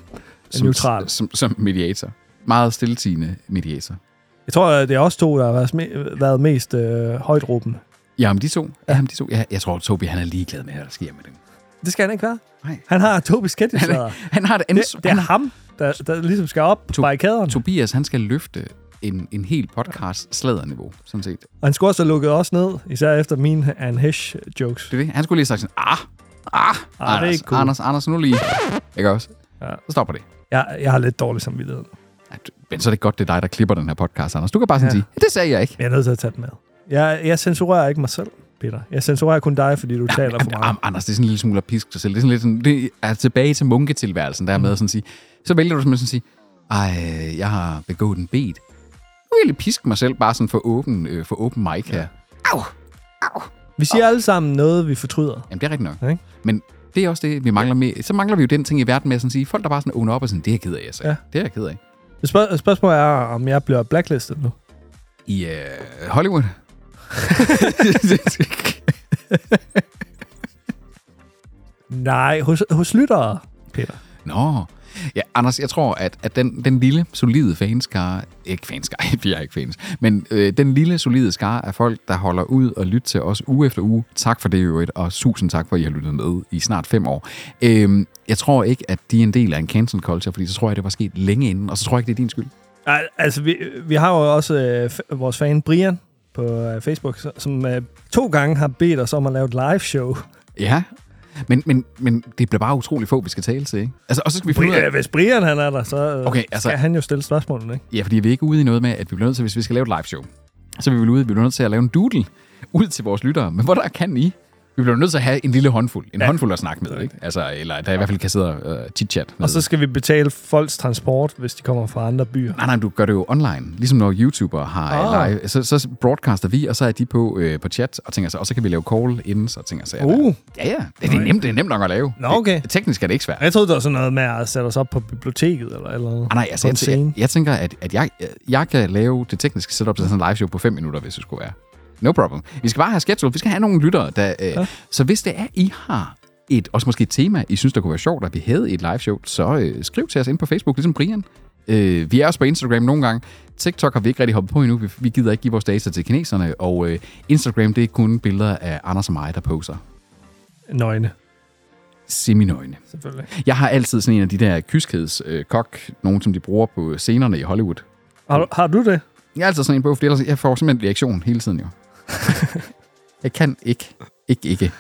S1: er neutral.
S2: Øh, Som, som mediator. Meget stilletigende mediator.
S1: Jeg tror, at det er også to, der har været, sme- været mest øh, højt råbende.
S2: Ja, om de to. Ja, om de to. Ja, jeg tror, Tobi han er ligeglad med, hvad der sker med dem.
S1: Det skal han ikke være.
S2: Nej.
S1: Han har Tobis kætteslader.
S2: Han har et
S1: Det,
S2: ansvar.
S1: det er ham, der, der ligesom skal op på
S2: To-
S1: barrikaderne.
S2: Tobias, han skal løfte en, en hel podcast sladerniveau, sådan set.
S1: Og han skulle også have lukket os ned, især efter mine Anne Hesh jokes.
S2: Det er det. Han skulle lige have sagt sådan, ah, ah,
S1: er
S2: Anders,
S1: ikke cool.
S2: Anders, Anders, nu lige. Ikke også?
S1: Ja.
S2: Så stopper det.
S1: Jeg, jeg har lidt dårlig samvittighed.
S2: Ja, du- Men så er det godt, det er dig, der klipper den her podcast, Anders. Du kan bare sådan ja. sige, det sagde jeg ikke.
S1: Men jeg er nødt til at tage den med. Jeg, jeg censurerer ikke mig selv, Peter. Jeg censurerer kun dig, fordi du taler for meget.
S2: Am, Anders, det er sådan en lille smule at piske sig selv. Det er, sådan lidt sådan, det er tilbage til munketilværelsen, der er med
S1: Mm.
S2: at sådan sige. Så vælger du simpelthen sådan at sige, ej, jeg har begået en bed. Nu vil jeg lige piske mig selv bare sådan for åben, øh, for åben mic her.
S1: Vi siger alle sammen noget, vi fortryder.
S2: Jamen, det er rigtigt
S1: Ja,
S2: nok.
S1: ikke?
S2: Men det er også det, vi mangler mere. Så mangler vi jo den ting i verden med at sådan sige, folk der bare sådan åbner op og sådan, det er jeg ked af, jeg sagde.
S1: Ja.
S2: Ja. Det er jeg ked af.
S1: Spørg- spørgsmålet er, om jeg bliver blacklistet nu.
S2: I øh, Hollywood.
S1: Nej, hos, hos lyttere, Peter.
S2: Nå. Ja, Anders, jeg tror, at, at den, den lille, solide fanskare... Ikke fanskare, vi er ikke fans. Men øh, den lille, solide skare af folk, der holder ud og lytter til os uge efter uge. Tak for det i øvrigt, og tusind tak for, at I har lyttet med i snart fem år. Øhm, jeg tror ikke, at de er en del af en cancel culture, fordi så tror jeg, det var sket længe inden, og så tror jeg ikke, det er din skyld.
S1: Al- Altså, vi, vi har jo også øh, f- vores fan Brian på øh, Facebook, så- som øh, to gange har bedt os om at lave et live show.
S2: Ja, men, men, men det bliver bare utrolig få, vi skal tale til, ikke? Altså, og så skal vi finde ud
S1: Brian,
S2: af...
S1: hvis Brian han er der, så øh,
S2: Okay,
S1: okay,
S2: altså-
S1: altså, skal han jo stille spørgsmålene, ikke?
S2: Ja, fordi vi er ikke ude i noget med, at vi bliver nødt til, hvis vi skal lave et live show, så er vi vil ude, vi bliver nødt til at lave en doodle ud til vores lyttere. Men hvor der kan I? Vi bliver nødt til at have en lille håndfuld. En ja. håndfuld at snakke med, ikke? Altså, eller der i hvert fald kan sidde og uh, chit-chat med.
S1: Og så skal vi betale folks transport, hvis de kommer fra andre byer.
S2: Nej, nej, du gør det jo online. Ligesom når YouTubere har
S1: Ah.
S2: oh. live, så, så broadcaster vi, og så er de på, øh, på chat, og tænker så, og så kan vi lave call inden, så tænker så,
S1: Uh.
S2: ja, ja, det, det, er nemt, det er nemt nok at lave.
S1: Nå, okay.
S2: Det, teknisk er det ikke svært.
S1: Jeg troede, det var sådan noget med at sætte os op på biblioteket eller eller noget.
S2: Ah, nej, altså,
S1: på en
S2: jeg,
S1: scene.
S2: jeg, jeg tænker, at, at jeg, jeg kan lave det tekniske setup til sådan en live show på 5 minutter, hvis det skulle være. No problem. Vi skal bare have schedule. Vi skal have nogle lyttere, der... Øh, ja. Så hvis det er, I har et, også måske et tema, I synes, der kunne være sjovt, at vi havde et live show, så øh, skriv til os ind på Facebook, ligesom Brian. Øh, vi er også på Instagram nogle gange. TikTok har vi ikke rigtig hoppet på endnu. Vi, vi gider ikke give vores data til kineserne. Og øh, Instagram, det er kun billeder af Anders og mig, der poser
S1: Nøgne,
S2: seminøgne.
S1: selvfølgelig.
S2: Jeg har altid sådan en af de der kyskhedskok, øh, kok, nogen som de bruger på scenerne i Hollywood.
S1: Har, du- har du det?
S2: Jeg er altid sådan en på, fordi ellers jeg får simpelthen reaktion hele tiden jo. jeg kan ikke. Ikke, ikke.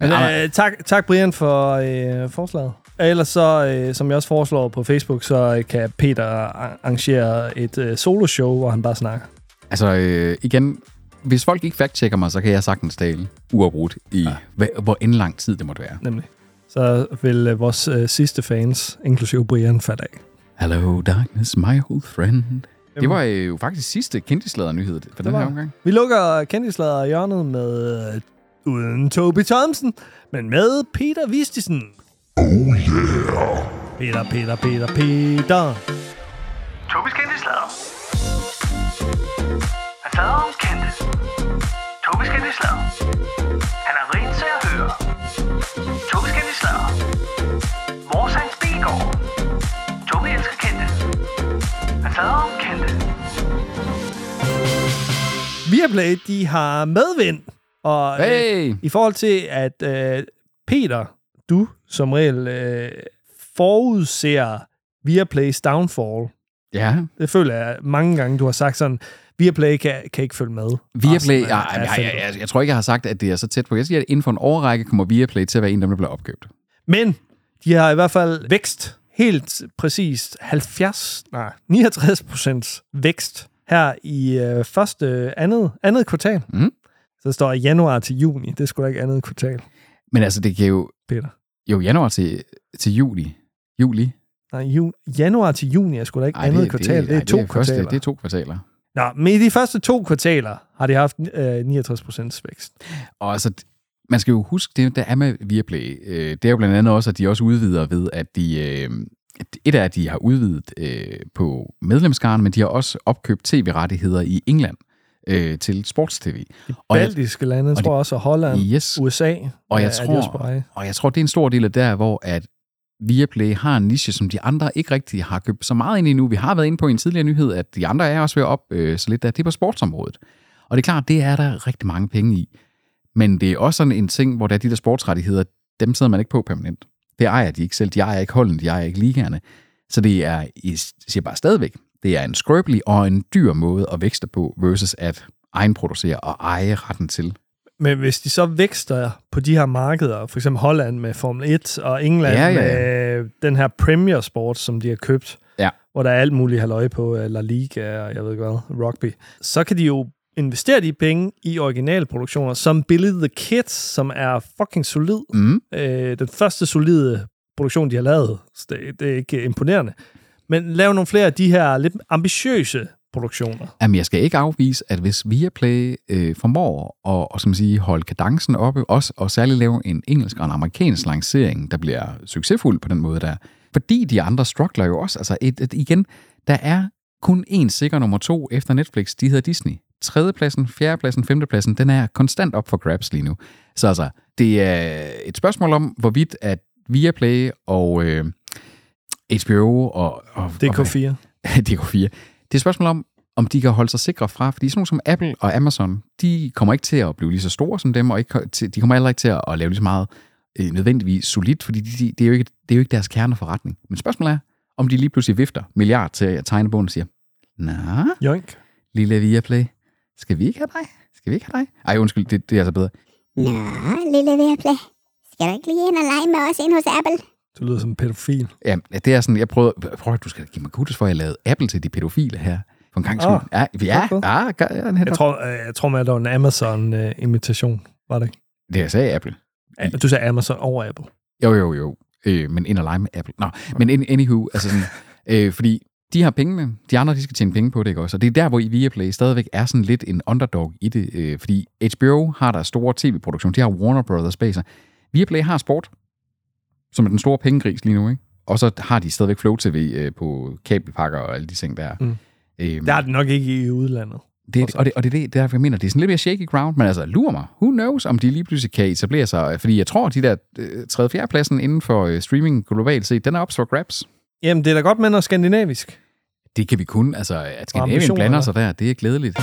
S2: Men, Anders,
S1: Men, øh, tak, tak, Brian, for øh, forslaget. Ellers så, øh, som jeg også foreslår på Facebook, så øh, kan Peter ar- arrangere et øh, soloshow, hvor han bare snakker.
S2: altså, øh, igen, hvis folk ikke fact-checker mig, så kan jeg sagtens tale uafbrudt i, ja. hvad, hvor end lang tid det måtte være.
S1: Nemlig. Så vil øh, vores øh, sidste fans, inklusive Brian, fatte af.
S2: Hello darkness, my old friend. Det var øh, jo faktisk sidste kendtislader-nyhed for den
S1: var
S2: her
S1: det.
S2: omgang.
S1: Vi lukker kendtislader hjørnet med øh, uden Toby Thompson, men med Peter Vistisen. Oh yeah! Peter, Peter, Peter, Peter.
S4: Tobis kendte slader. Han slader om kendte. Tobis kendte slader. Han er rigt til at høre. Tobis kendte slader. Vores hans bilgård. Tobi elsker kendte. Han slader om kendte.
S1: Viaplay, de har medvind. Og øh,
S2: Hey!
S1: i forhold til, at øh, Peter, du som regel øh, forudser Viaplays downfall.
S2: Ja,
S1: Det føler jeg mange gange, du har sagt sådan, Viaplay kan, kan ikke følge med.
S2: Viaplay,
S1: Resten af-
S2: jeg, jeg,
S1: af
S2: jeg,
S1: feltet.
S2: jeg, jeg tror ikke, jeg har sagt, at det er så tæt på. Jeg siger, at inden for en årrække kommer Viaplay til at være en af dem, der bliver opkøbt.
S1: Men de har i hvert fald vækst helt præcist 70, nej, 69 procents vækst her i øh, første, andet, andet kvartal.
S2: Mm.
S1: Så står der januar til juni. Det skulle da ikke andet kvartal,
S2: Men altså, det kan jo,
S1: Peter.
S2: jo januar til, til juli. Juli?
S1: Nej, ju, januar til juni er sgu da ikke Ej, andet det, kvartal. Det, det er
S2: ej,
S1: to det er
S2: første-
S1: kvartaler.
S2: Det er to kvartaler.
S1: Nå, men i de første to kvartaler har de haft øh, 69 procents vækst.
S2: Og altså, d- man skal jo huske, det der er med Viaplay, øh, det er jo blandt andet også, at de også udvider ved, at de... Øh, at et er, at de har udvidet øh, på medlemskaren, men de har også opkøbt tv-rettigheder i England øh, til sports-tv. Og jeg,
S1: Baltiske lande, tror jeg også, og Holland,
S2: yes,
S1: USA.
S2: Og jeg,
S1: er de også på
S2: tror,
S1: vej.
S2: og jeg tror, det er en stor del af der, hvor at Viaplay har en niche, som de andre ikke rigtig har købt så meget ind i nu. Vi har været inde på i en tidligere nyhed, at de andre er også ved at op øh, så lidt der. Det er på sportsområdet. Og det er klart, det er der rigtig mange penge i. Men det er også sådan en ting, hvor der er de der sportsrettigheder, dem sidder man ikke på permanent. Det ejer de ikke selv. De ejer ikke holden, de ejer ikke ligaerne. Så det er, jeg siger bare stadigvæk, det er en skrøbelig og en dyr måde at vækste på, versus at egenproducere og eje retten til.
S1: Men hvis de så vækster på de her markeder, for eksempel Holland med Formel 1, og England
S2: Ja,
S1: ja,
S2: ja,
S1: ja,
S2: ja.
S1: med den her Premier Sport, som de har købt,
S2: Ja.
S1: hvor der er alt muligt halvøje på øh, La Liga og jeg ved ikke hvad, rugby, så kan de jo investere de penge i originalproduktioner, som Billy the Kid, som er fucking solid.
S2: Mm.
S1: Øh, den første solide produktion, de har lavet. Så Det, det er ikke imponerende. Men lav nogle flere af de her lidt ambitiøse produktioner.
S2: Jamen, jeg skal ikke afvise, at hvis Viaplay øh, formår at og, skal man sige, holde kadencen oppe, også, og særligt lave en engelsk og en amerikansk lancering, der bliver succesfuld på den måde der, fordi de andre struggler jo også. Altså, et, et, igen, der er kun én sikker nummer to efter Netflix, de hedder Disney. Tredjepladsen, fjerdepladsen, femtepladsen, den er konstant op for grabs lige nu. Så altså, det er et spørgsmål om, hvorvidt at Viaplay og øh, HBO og... og og,
S1: DK4.
S2: DK4. Det er et spørgsmål om, om de kan holde sig sikre fra, fordi sådan nogle som Apple og Amazon, de kommer ikke til at blive lige så store som dem, og ikke, til- de kommer heller ikke til at, at lave lige så meget øh, nødvendigvis solidt, fordi de, de, det, er jo ikke, det er jo ikke deres kerneforretning. Men spørgsmålet er, om de lige pludselig vifter milliard til at tegne bogen og siger, Nå,
S1: Joink.
S2: lille Viaplay, skal vi ikke have dig? Skal vi ikke have dig? Ej, undskyld, det, det er altså bedre.
S5: Nå, lille Viaplay. Skal du ikke lige ind og lege med os ind hos Apple?
S1: Du lyder som en pædofil.
S2: Ja, det er sådan, jeg prøvede, prøv at du skal give mig kudos for, at jeg lavede Apple til de pædofile her. For en gang skyld.
S1: Åh,
S2: ja, ja,
S1: godt.
S2: ja, ja, ja,
S1: Jeg tror, øh, jeg tror med, at det var en Amazon-imitation, var det ikke?
S2: det jeg sagde Apple.
S1: Ja, Du sagde Amazon over Apple.
S2: Jo, jo, jo. Øh, men ind og lege med Apple. Nå, men in, anywho, altså sådan, øh, fordi de har pengene, de andre de skal tjene penge på det, ikke også? Og det er der, hvor i Viaplay stadigvæk er sådan lidt en underdog i det, øh, fordi HBO har der store tv-produktion, de har Warner Brothers bag sig. Viaplay har sport, som er den store pengegris lige nu, ikke? Og så har de stadigvæk Flow TV øh, på kabelpakker og alle de ting, der er.
S1: Mm.
S2: Øhm,
S1: Der er det nok ikke i udlandet.
S2: Det, og, det, og det, er det det er derfor, jeg mener, det er sådan lidt mere shaky ground, men altså, lur mig. Who knows, om de lige pludselig kan etablere sig? Fordi jeg tror, de der øh, 3. 4. pladsen inden for øh, streaming globalt set, den er op for grabs.
S1: Jamen, det er da godt med noget skandinavisk.
S2: Det kan vi kun. Altså, at Skandinavien
S1: ambitioner,
S2: blander sig der, det er glædeligt.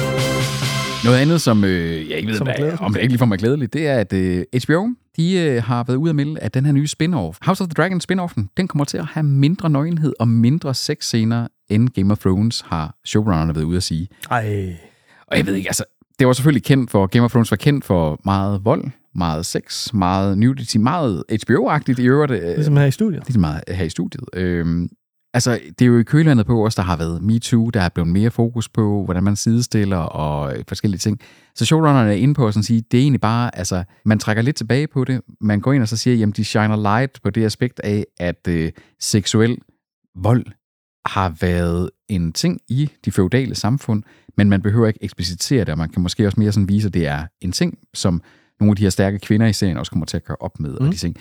S2: Noget andet, som øh, jeg ikke ved,
S1: Som er
S2: hvad,
S1: glædeligt.
S2: om det ikke lige for mig glædeligt, det er, at øh, HBO de øh, har været ude at melde, at den her nye spin-off, House of the Dragon spin-offen, den kommer til at have mindre nøgenhed og mindre sexscener, end Game of Thrones har showrunnerne været ude at sige.
S1: Ej.
S2: Og jeg ved ikke, altså, det var selvfølgelig kendt for, Game of Thrones var kendt for meget vold, meget sex, meget nudity, meget HBO-agtigt i øvrigt. øh,
S1: Ligesom her i studiet.
S2: lige så meget øh, her i studiet. Øhm, altså, det er jo i kølandet på os, der har været MeToo, der er blevet mere fokus på, hvordan man sidestiller og øh, forskellige ting. Så showrunnerne er inde på at sådan sige, det er egentlig bare, altså, man trækker lidt tilbage på det, man går ind og så siger, jamen, de shiner light på det aspekt af, at øh, seksuel vold har været en ting i de feudale samfund, men man behøver ikke eksplicitere det, og man kan måske også mere sådan vise, at det er en ting, som nogle af de her stærke kvinder i serien også kommer til at gøre op med, mm. og de ting.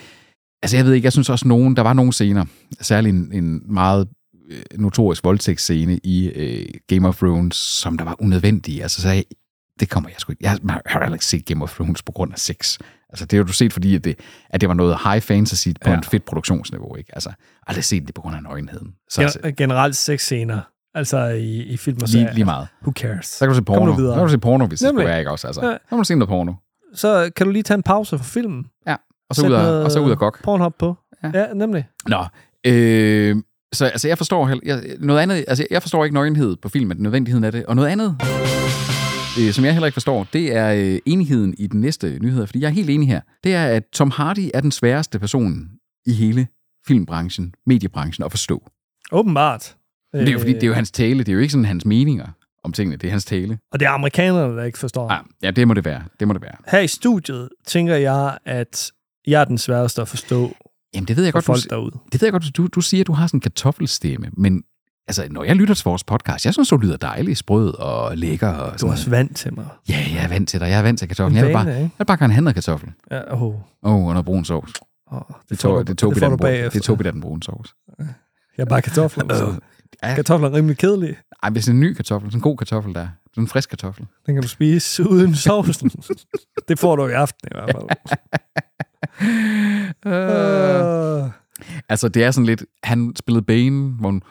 S2: Altså, jeg ved ikke, jeg synes også, nogen, der var nogle scener, særligt en, en meget øh, notorisk voldtægtsscene i øh, Game of Thrones, som der var unødvendig. Altså, så jeg, det kommer jeg sgu ikke. Jeg har har heller ikke set Game of Thrones på grund af sex. Altså, det har du set, fordi at det, at det var noget high fantasy på ja. en fedt produktionsniveau, ikke? Altså, aldrig set det på grund af nøgenheden. Så, altså,
S1: Gen- generelt sexscener. Altså i, i film og serier.
S2: lige, lige meget.
S1: Who cares?
S2: Så kan du se
S1: Kommer
S2: porno.
S1: du videre?
S2: Så kan du se porno, hvis Nemlig. det
S1: Nemlig.
S2: skulle være, ikke også? Altså,
S1: Ja.
S2: så må du se noget porno.
S1: Så kan du lige tage en pause fra filmen.
S2: Ja, og så,
S1: Sæt
S2: ud af,
S1: noget
S2: og så ud af gok.
S1: Pornhub på.
S2: Ja.
S1: Ja, ja nemlig.
S2: Nå, øh, så altså, jeg forstår heller- jeg, noget andet, altså, jeg forstår ikke nøgenhed på filmen, nødvendigheden af det, og noget andet, øh, som jeg heller ikke forstår, det er øh, enigheden i den næste nyheder, fordi jeg er helt enig her. Det er, at Tom Hardy er den sværeste person i hele filmbranchen, mediebranchen at forstå.
S1: Åbenbart.
S2: Men det er jo fordi, det er
S1: Øh.
S2: jo hans tale, det er jo ikke sådan hans meninger om tingene, det er hans tale.
S1: Og det er amerikanerne, der ikke forstår.
S2: Ah, ja, det må det være, det må det være.
S1: Her i studiet tænker jeg, at jeg er den sværeste at forstå
S2: Jamen, det ved jeg
S1: for
S2: godt, du,
S1: folk
S2: si-
S1: derude.
S2: det ved jeg godt, du, du siger, at du har sådan en kartoffelstemme, men altså, når jeg lytter til vores podcast, jeg synes, du lyder dejlig, sprød og lækker. Og
S1: Du
S2: sådan
S1: er
S2: noget.
S1: også vant til mig.
S2: Ja, jeg er vant til dig. Jeg er vant til kartoflen.
S1: En
S2: Altså- Jeg vil bare,
S1: vane,
S2: jeg
S1: ikke?
S2: vil bare gerne have noget kartoffel.
S1: Ja, oh, oh,
S2: Åh, oh, og noget brun sovs. Det
S1: får
S2: tog,
S1: du-
S2: det tog,
S1: det
S2: det
S1: får
S2: tog,
S1: du
S2: det
S1: bagefter. Øh.
S2: det tog vi da den brune sovs. Altså,
S1: Jeg er bare kartofler. så
S2: Ja.
S1: Kartofler er rimelig kedelige.
S2: Ej, hvis det er en ny kartoffel, sådan en god kartoffel der, er. sådan en frisk kartoffel.
S1: Den kan du spise uden sovsen. det får du i aften i hvert fald. Øh.
S2: Altså, det er sådan lidt, han spillede Bane, hvor hun...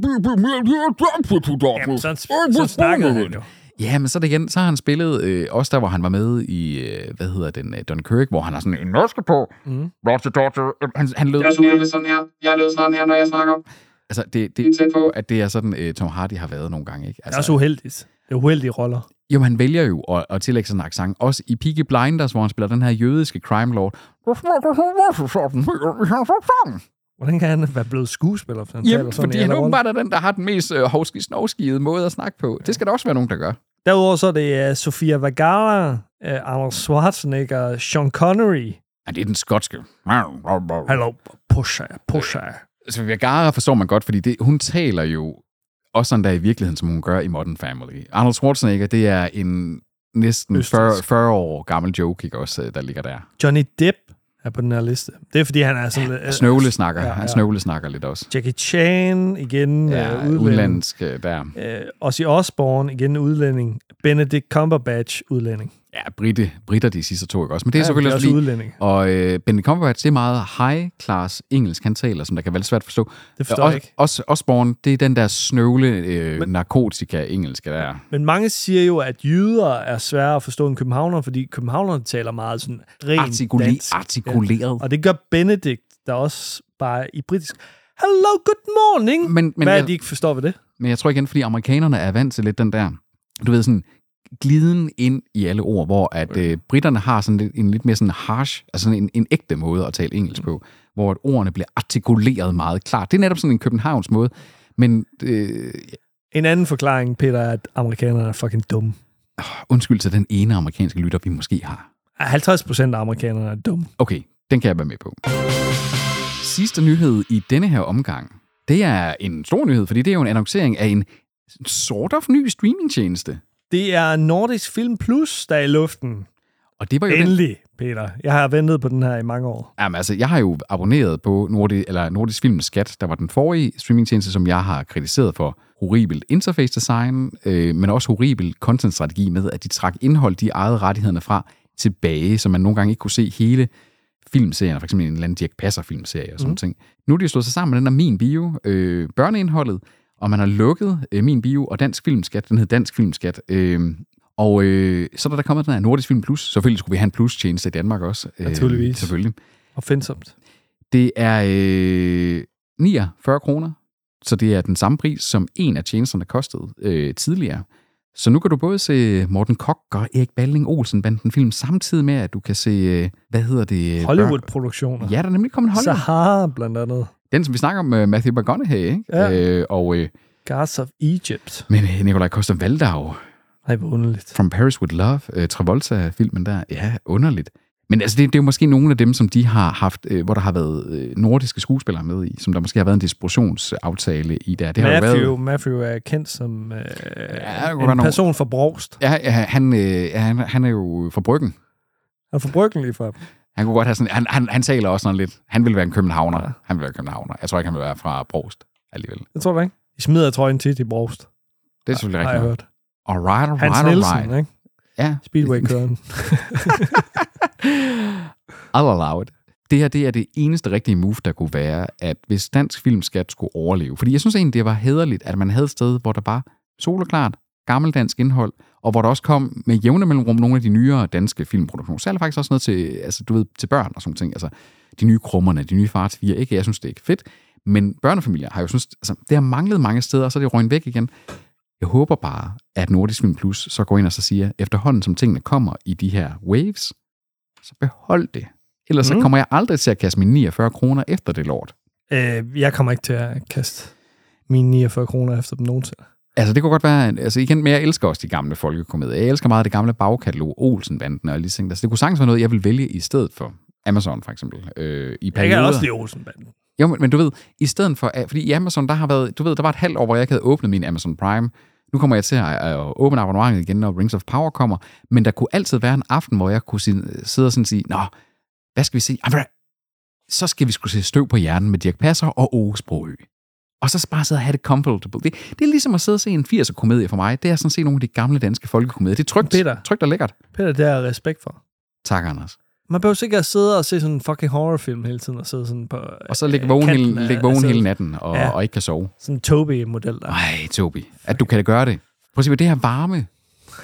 S1: Jamen, så, så snakker han jo.
S2: Ja, men så er det igen, så har han spillet øh, også der, hvor han var med i, øh, hvad hedder den, øh, Dunkirk, hvor han har sådan en norske på. Mm. Roger, Roger. Han, han lød...
S6: Jeg synes, jeg lød sådan her. Jeg lød sådan her, når jeg snakker.
S2: Altså, det, det er tæt på, at det er sådan, øh, Tom Hardy har været nogle gange, ikke?
S1: Det er
S2: Altså,
S1: også uheldigt. Det er uheldige roller.
S2: Jo, men han vælger jo at, at tillægge sådan en accent. Også i Peaky Blinders, hvor han spiller den her jødiske crime lord.
S1: Hvordan kan han være blevet skuespiller, hvis han taler
S2: Jamen,
S1: sådan
S2: fordi
S1: i
S2: han
S1: alle roller?
S2: åbenbart er den, der har den mest øh, hovski- snovskide måde at snakke på. Det skal der også være nogen, der gør.
S1: Derudover så er det uh, Sofia Vergara, uh, Arnold Schwarzenegger, Sean Connery.
S2: Ja, det er den skotske.
S1: Hallo, pusher, pusher.
S2: Så Vergara Altså, forstår man godt, fordi det, hun taler jo også sådan der i virkeligheden, som hun gør i Modern Family. Arnold Schwarzenegger, det er en næsten 40,
S1: Østrigsk.
S2: 40 år gammel joke, ikke også, øh, der ligger der.
S1: Johnny Depp er på den her liste. Det er fordi, han er sådan... Uh,
S2: Snøvle snakker.
S1: ja,
S2: Han
S1: ja.
S2: snøvle snakker lidt også.
S1: Jackie Chan, igen
S2: Ja,
S1: ja, uh, udlænding.
S2: udenlandsk øh, der.
S1: Uh, Ozzy Osbourne, igen udlænding. Benedict Cumberbatch, udlænding.
S2: Ja, britte, britter de sidste to, ikke også? Men det er ja,
S1: Ja,
S2: selvfølgelig
S1: det er
S2: også
S1: også
S2: fordi...
S1: udlænding.
S2: Og øh, Benny Cumberbatch, det er meget high-class engelsk, han taler, som der kan være lidt svært at forstå.
S1: Det forstår jeg ikke.
S2: Også Osborne, det er den der snøvle øh, narkotika-engelsk der.
S1: Men mange siger jo, at jyder er svære at forstå end københavnere, fordi københavnerne taler meget sådan rent
S2: Artikule-
S1: dansk.
S2: artikuleret.
S1: Og det gør Benedikt, der også bare er i britisk. Hello, good morning.
S2: Men- men
S1: Hvad er
S2: jeg-
S1: de ikke forstår ved det?
S2: Men jeg tror igen, fordi amerikanerne er vant til lidt den der, du ved sådan, gliden ind i alle ord, hvor at øh, britterne har sådan lidt, en lidt mere sådan harsh, altså sådan en, en ægte måde at tale engelsk på, hvor at ordene bliver artikuleret meget klart. Det er netop sådan en københavns måde, men øh,
S1: En anden forklaring, Peter, er, at amerikanerne er fucking dumme.
S2: undskyld til den ene amerikanske lytter, vi måske har.
S1: Ah, 50 procent af amerikanerne er dumme.
S2: Okay, den kan jeg være med på. Sidste nyhed i denne her omgang, det er en stor nyhed, fordi det er jo en annoncering af en sort of ny streamingtjeneste.
S1: Det er Nordisk Film Plus, der er i luften.
S2: Og det var jo den,
S1: Endelig, Peter. Jeg har ventet på den her i mange år.
S2: Jamen, altså, jeg har jo abonneret på Nordisk, eller Nordisk Film Skat, der var den forrige streamingtjeneste, som jeg har kritiseret for horribel interface design, øh, men også horribel contentstrategi med, at de trak indhold, de ejede rettighederne fra, tilbage, så man nogle gange ikke kunne se hele filmserien, for eksempel en eller anden Dirk Passer filmserie og sådan mm. ting. Nu er de jo slået sig sammen med den der Min Bio, øh, børneindholdet, og man har lukket øh, Min Bio og Dansk Filmskat, den hed Dansk Filmskat, øh, og øh, så er der kommet den her Nordisk Film Plus. Selvfølgelig skulle vi have en plus-tjeneste i Danmark også. Øh,
S1: Naturligvis.
S2: Selvfølgelig.
S1: Opfindsomt.
S2: Det er øh, 49 kroner, så det er den samme pris, som en af tjenesterne kostede øh, tidligere. Så nu kan du både se Morten Kok og Erik Balling Olsen banden film, samtidig med, at du kan se, øh, hvad hedder det? øh,
S1: Hollywood-produktioner.
S2: Børn. Ja, der er nemlig kommet en Hollywood.
S1: Sahara blandt andet.
S2: Den, som vi snakker om, øh, Matthew McConaughey, ikke?
S1: Ja.
S2: Øh, og, øh,
S1: Gods of Egypt.
S2: men øh, Nikolaj Koster Valdau,
S1: Nej, hvor underligt.
S2: From Paris With Love, øh, Travolta-filmen der, ja, underligt. Men altså, det, det er jo måske nogle af dem, som de har haft, øh, hvor der har været øh, nordiske skuespillere med i, som der måske har været en distributionsaftale i der. Det har jo
S1: Matthew,
S2: været,
S1: Matthew er kendt som øh,
S2: der kunne
S1: en
S2: være nogle-
S1: person fra Brogst.
S2: ja, ja, han, øh, ja, han, han er jo fra Bryggen.
S1: Han er fra Bryggen lige fra.
S2: Han kunne godt have sådan, han, han, han taler også sådan lidt, han ville være en københavner. Ja. Han ville være en københavner. Jeg tror ikke, han ville være fra Brost alligevel.
S1: Jeg tror det ikke. De smider trøjen tit i Brogst,
S2: Det er selvfølgelig
S1: har jeg
S2: rigtigt. nok.
S1: hørt.
S2: Alright, alright,
S1: Hans
S2: alright.
S1: Nielsen, ikke?
S2: Ja.
S1: Speedway-køren.
S2: I'll allow it. Det her det er det eneste rigtige move, der kunne være, at hvis dansk filmskat skulle overleve. Fordi jeg synes egentlig, det var hederligt, at man havde et sted, hvor der var soleklart, gammeldansk indhold, og hvor der også kom med jævne mellemrum nogle af de nyere danske filmproduktioner. Så er der faktisk også noget til, altså, du ved, til børn og sådan nogle ting. Altså, de nye krummerne, de nye far til fire, ikke? Jeg synes, det er ikke fedt. Men børnefamilier har jo synes, altså, det har manglet mange steder, og så er det røgnet væk igen. Jeg håber bare, at Nordisk Film Plus så går ind og så siger, efterhånden som tingene kommer i de her waves, så behold det. Ellers
S1: Mm.
S2: så kommer jeg aldrig til at kaste mine 49 kroner efter det lort.
S1: øh, jeg kommer ikke til at kaste mine 49 kroner efter dem nogensinde.
S2: Altså, det kunne godt være... Altså, igen, men jeg elsker også de gamle folkekomedier. Jeg elsker meget det gamle bagkatalog, Olsen-banden og alle de ting. Altså, det kunne sagtens være noget, jeg ville vælge i stedet for Amazon, for eksempel. Øh, i
S1: Jeg kan
S2: perioder.
S1: også lide Olsenbanden.
S2: Jo, men, men du ved, i stedet for... at- Fordi i Amazon, der har været... Du ved, der var et halvt år, hvor jeg ikke havde åbnet min Amazon Prime. Nu kommer jeg til at, at åbne abonnementet igen, når Rings of Power kommer. Men der kunne altid være en aften, hvor jeg kunne sige, sidde og sådan sige, Nå, hvad skal vi se? Jamen, hvad- så skal vi skulle se støv på hjernen med Dirk Passer og Åge Sprogø. Og så bare sidde og have det comfortable. Det, det er ligesom at sidde og se en 80'er komedie for mig. Det er sådan at se nogle af de gamle danske folkekomedier. Det er trygt,
S1: Peter.
S2: trygt og lækkert.
S1: Peter, det har jeg respekt for.
S2: Tak, Anders.
S1: Man behøver sikkert at sidde og se sådan en fucking horrorfilm hele tiden, og sidde sådan på...
S2: Og så ligge vågen,
S1: Øh, kanten
S2: hele,
S1: af-
S2: ligge vågen
S1: altså,
S2: hele natten og,
S1: Ja.
S2: ja. og ikke kan sove.
S1: Sådan en Toby-model der.
S2: Ej, Tobi, at du kan da gøre det. Prøv at se, med det her varme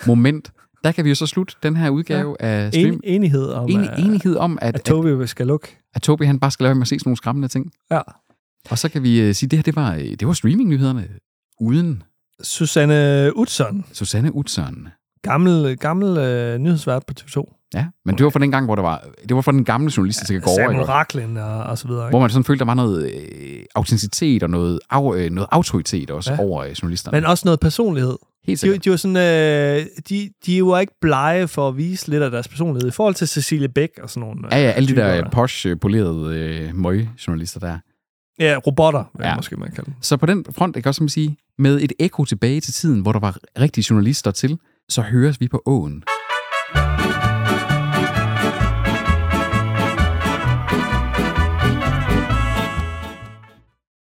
S2: moment, der kan vi jo så slutte den her udgave ja. af
S1: En,
S2: stream.
S1: enighed om,
S2: En,
S1: at-
S2: enighed om, at,
S1: at
S2: at,
S1: Toby skal lukke.
S2: at Tobi han bare skal lade være med at se sådan nogle skræmmende ting.
S1: Ja.
S2: Og så kan vi uh, sige, at det her det var, øh, det var streamingnyhederne uden
S1: Susanne Utzon,
S2: Susanne Utzon.
S1: gammel, gammel øh, nyhedsvært på TV2.
S2: Ja, men det var fra den gang, hvor der var, det var fra den gamle journalist, der går over.
S1: Samuel
S2: ikke?
S1: Racklin og, og så videre.
S2: Hvor
S1: Ikke?
S2: man sådan følte, der var noget øh, autenticitet og noget, af, øh, noget autoritet også
S1: Ja.
S2: ja. over øh, journalisterne.
S1: Men også noget personlighed.
S2: Helt
S1: De,
S2: sikkert.
S1: de, var sådan, øh, de, de var ikke blege for at vise lidt af deres personlighed i forhold til Cecilie Bæk og sådan nogle. øh,
S2: Ja, ja, alle de
S1: typer
S2: der posh, øh, polerede øh, møgjournalister der.
S1: Ja, robotter, ja.
S2: Ja.
S1: måske man kalder dem.
S2: Så på den front, jeg kan også man sige, med et ekko tilbage til tiden, hvor der var rigtige journalister til, så høres vi på åen.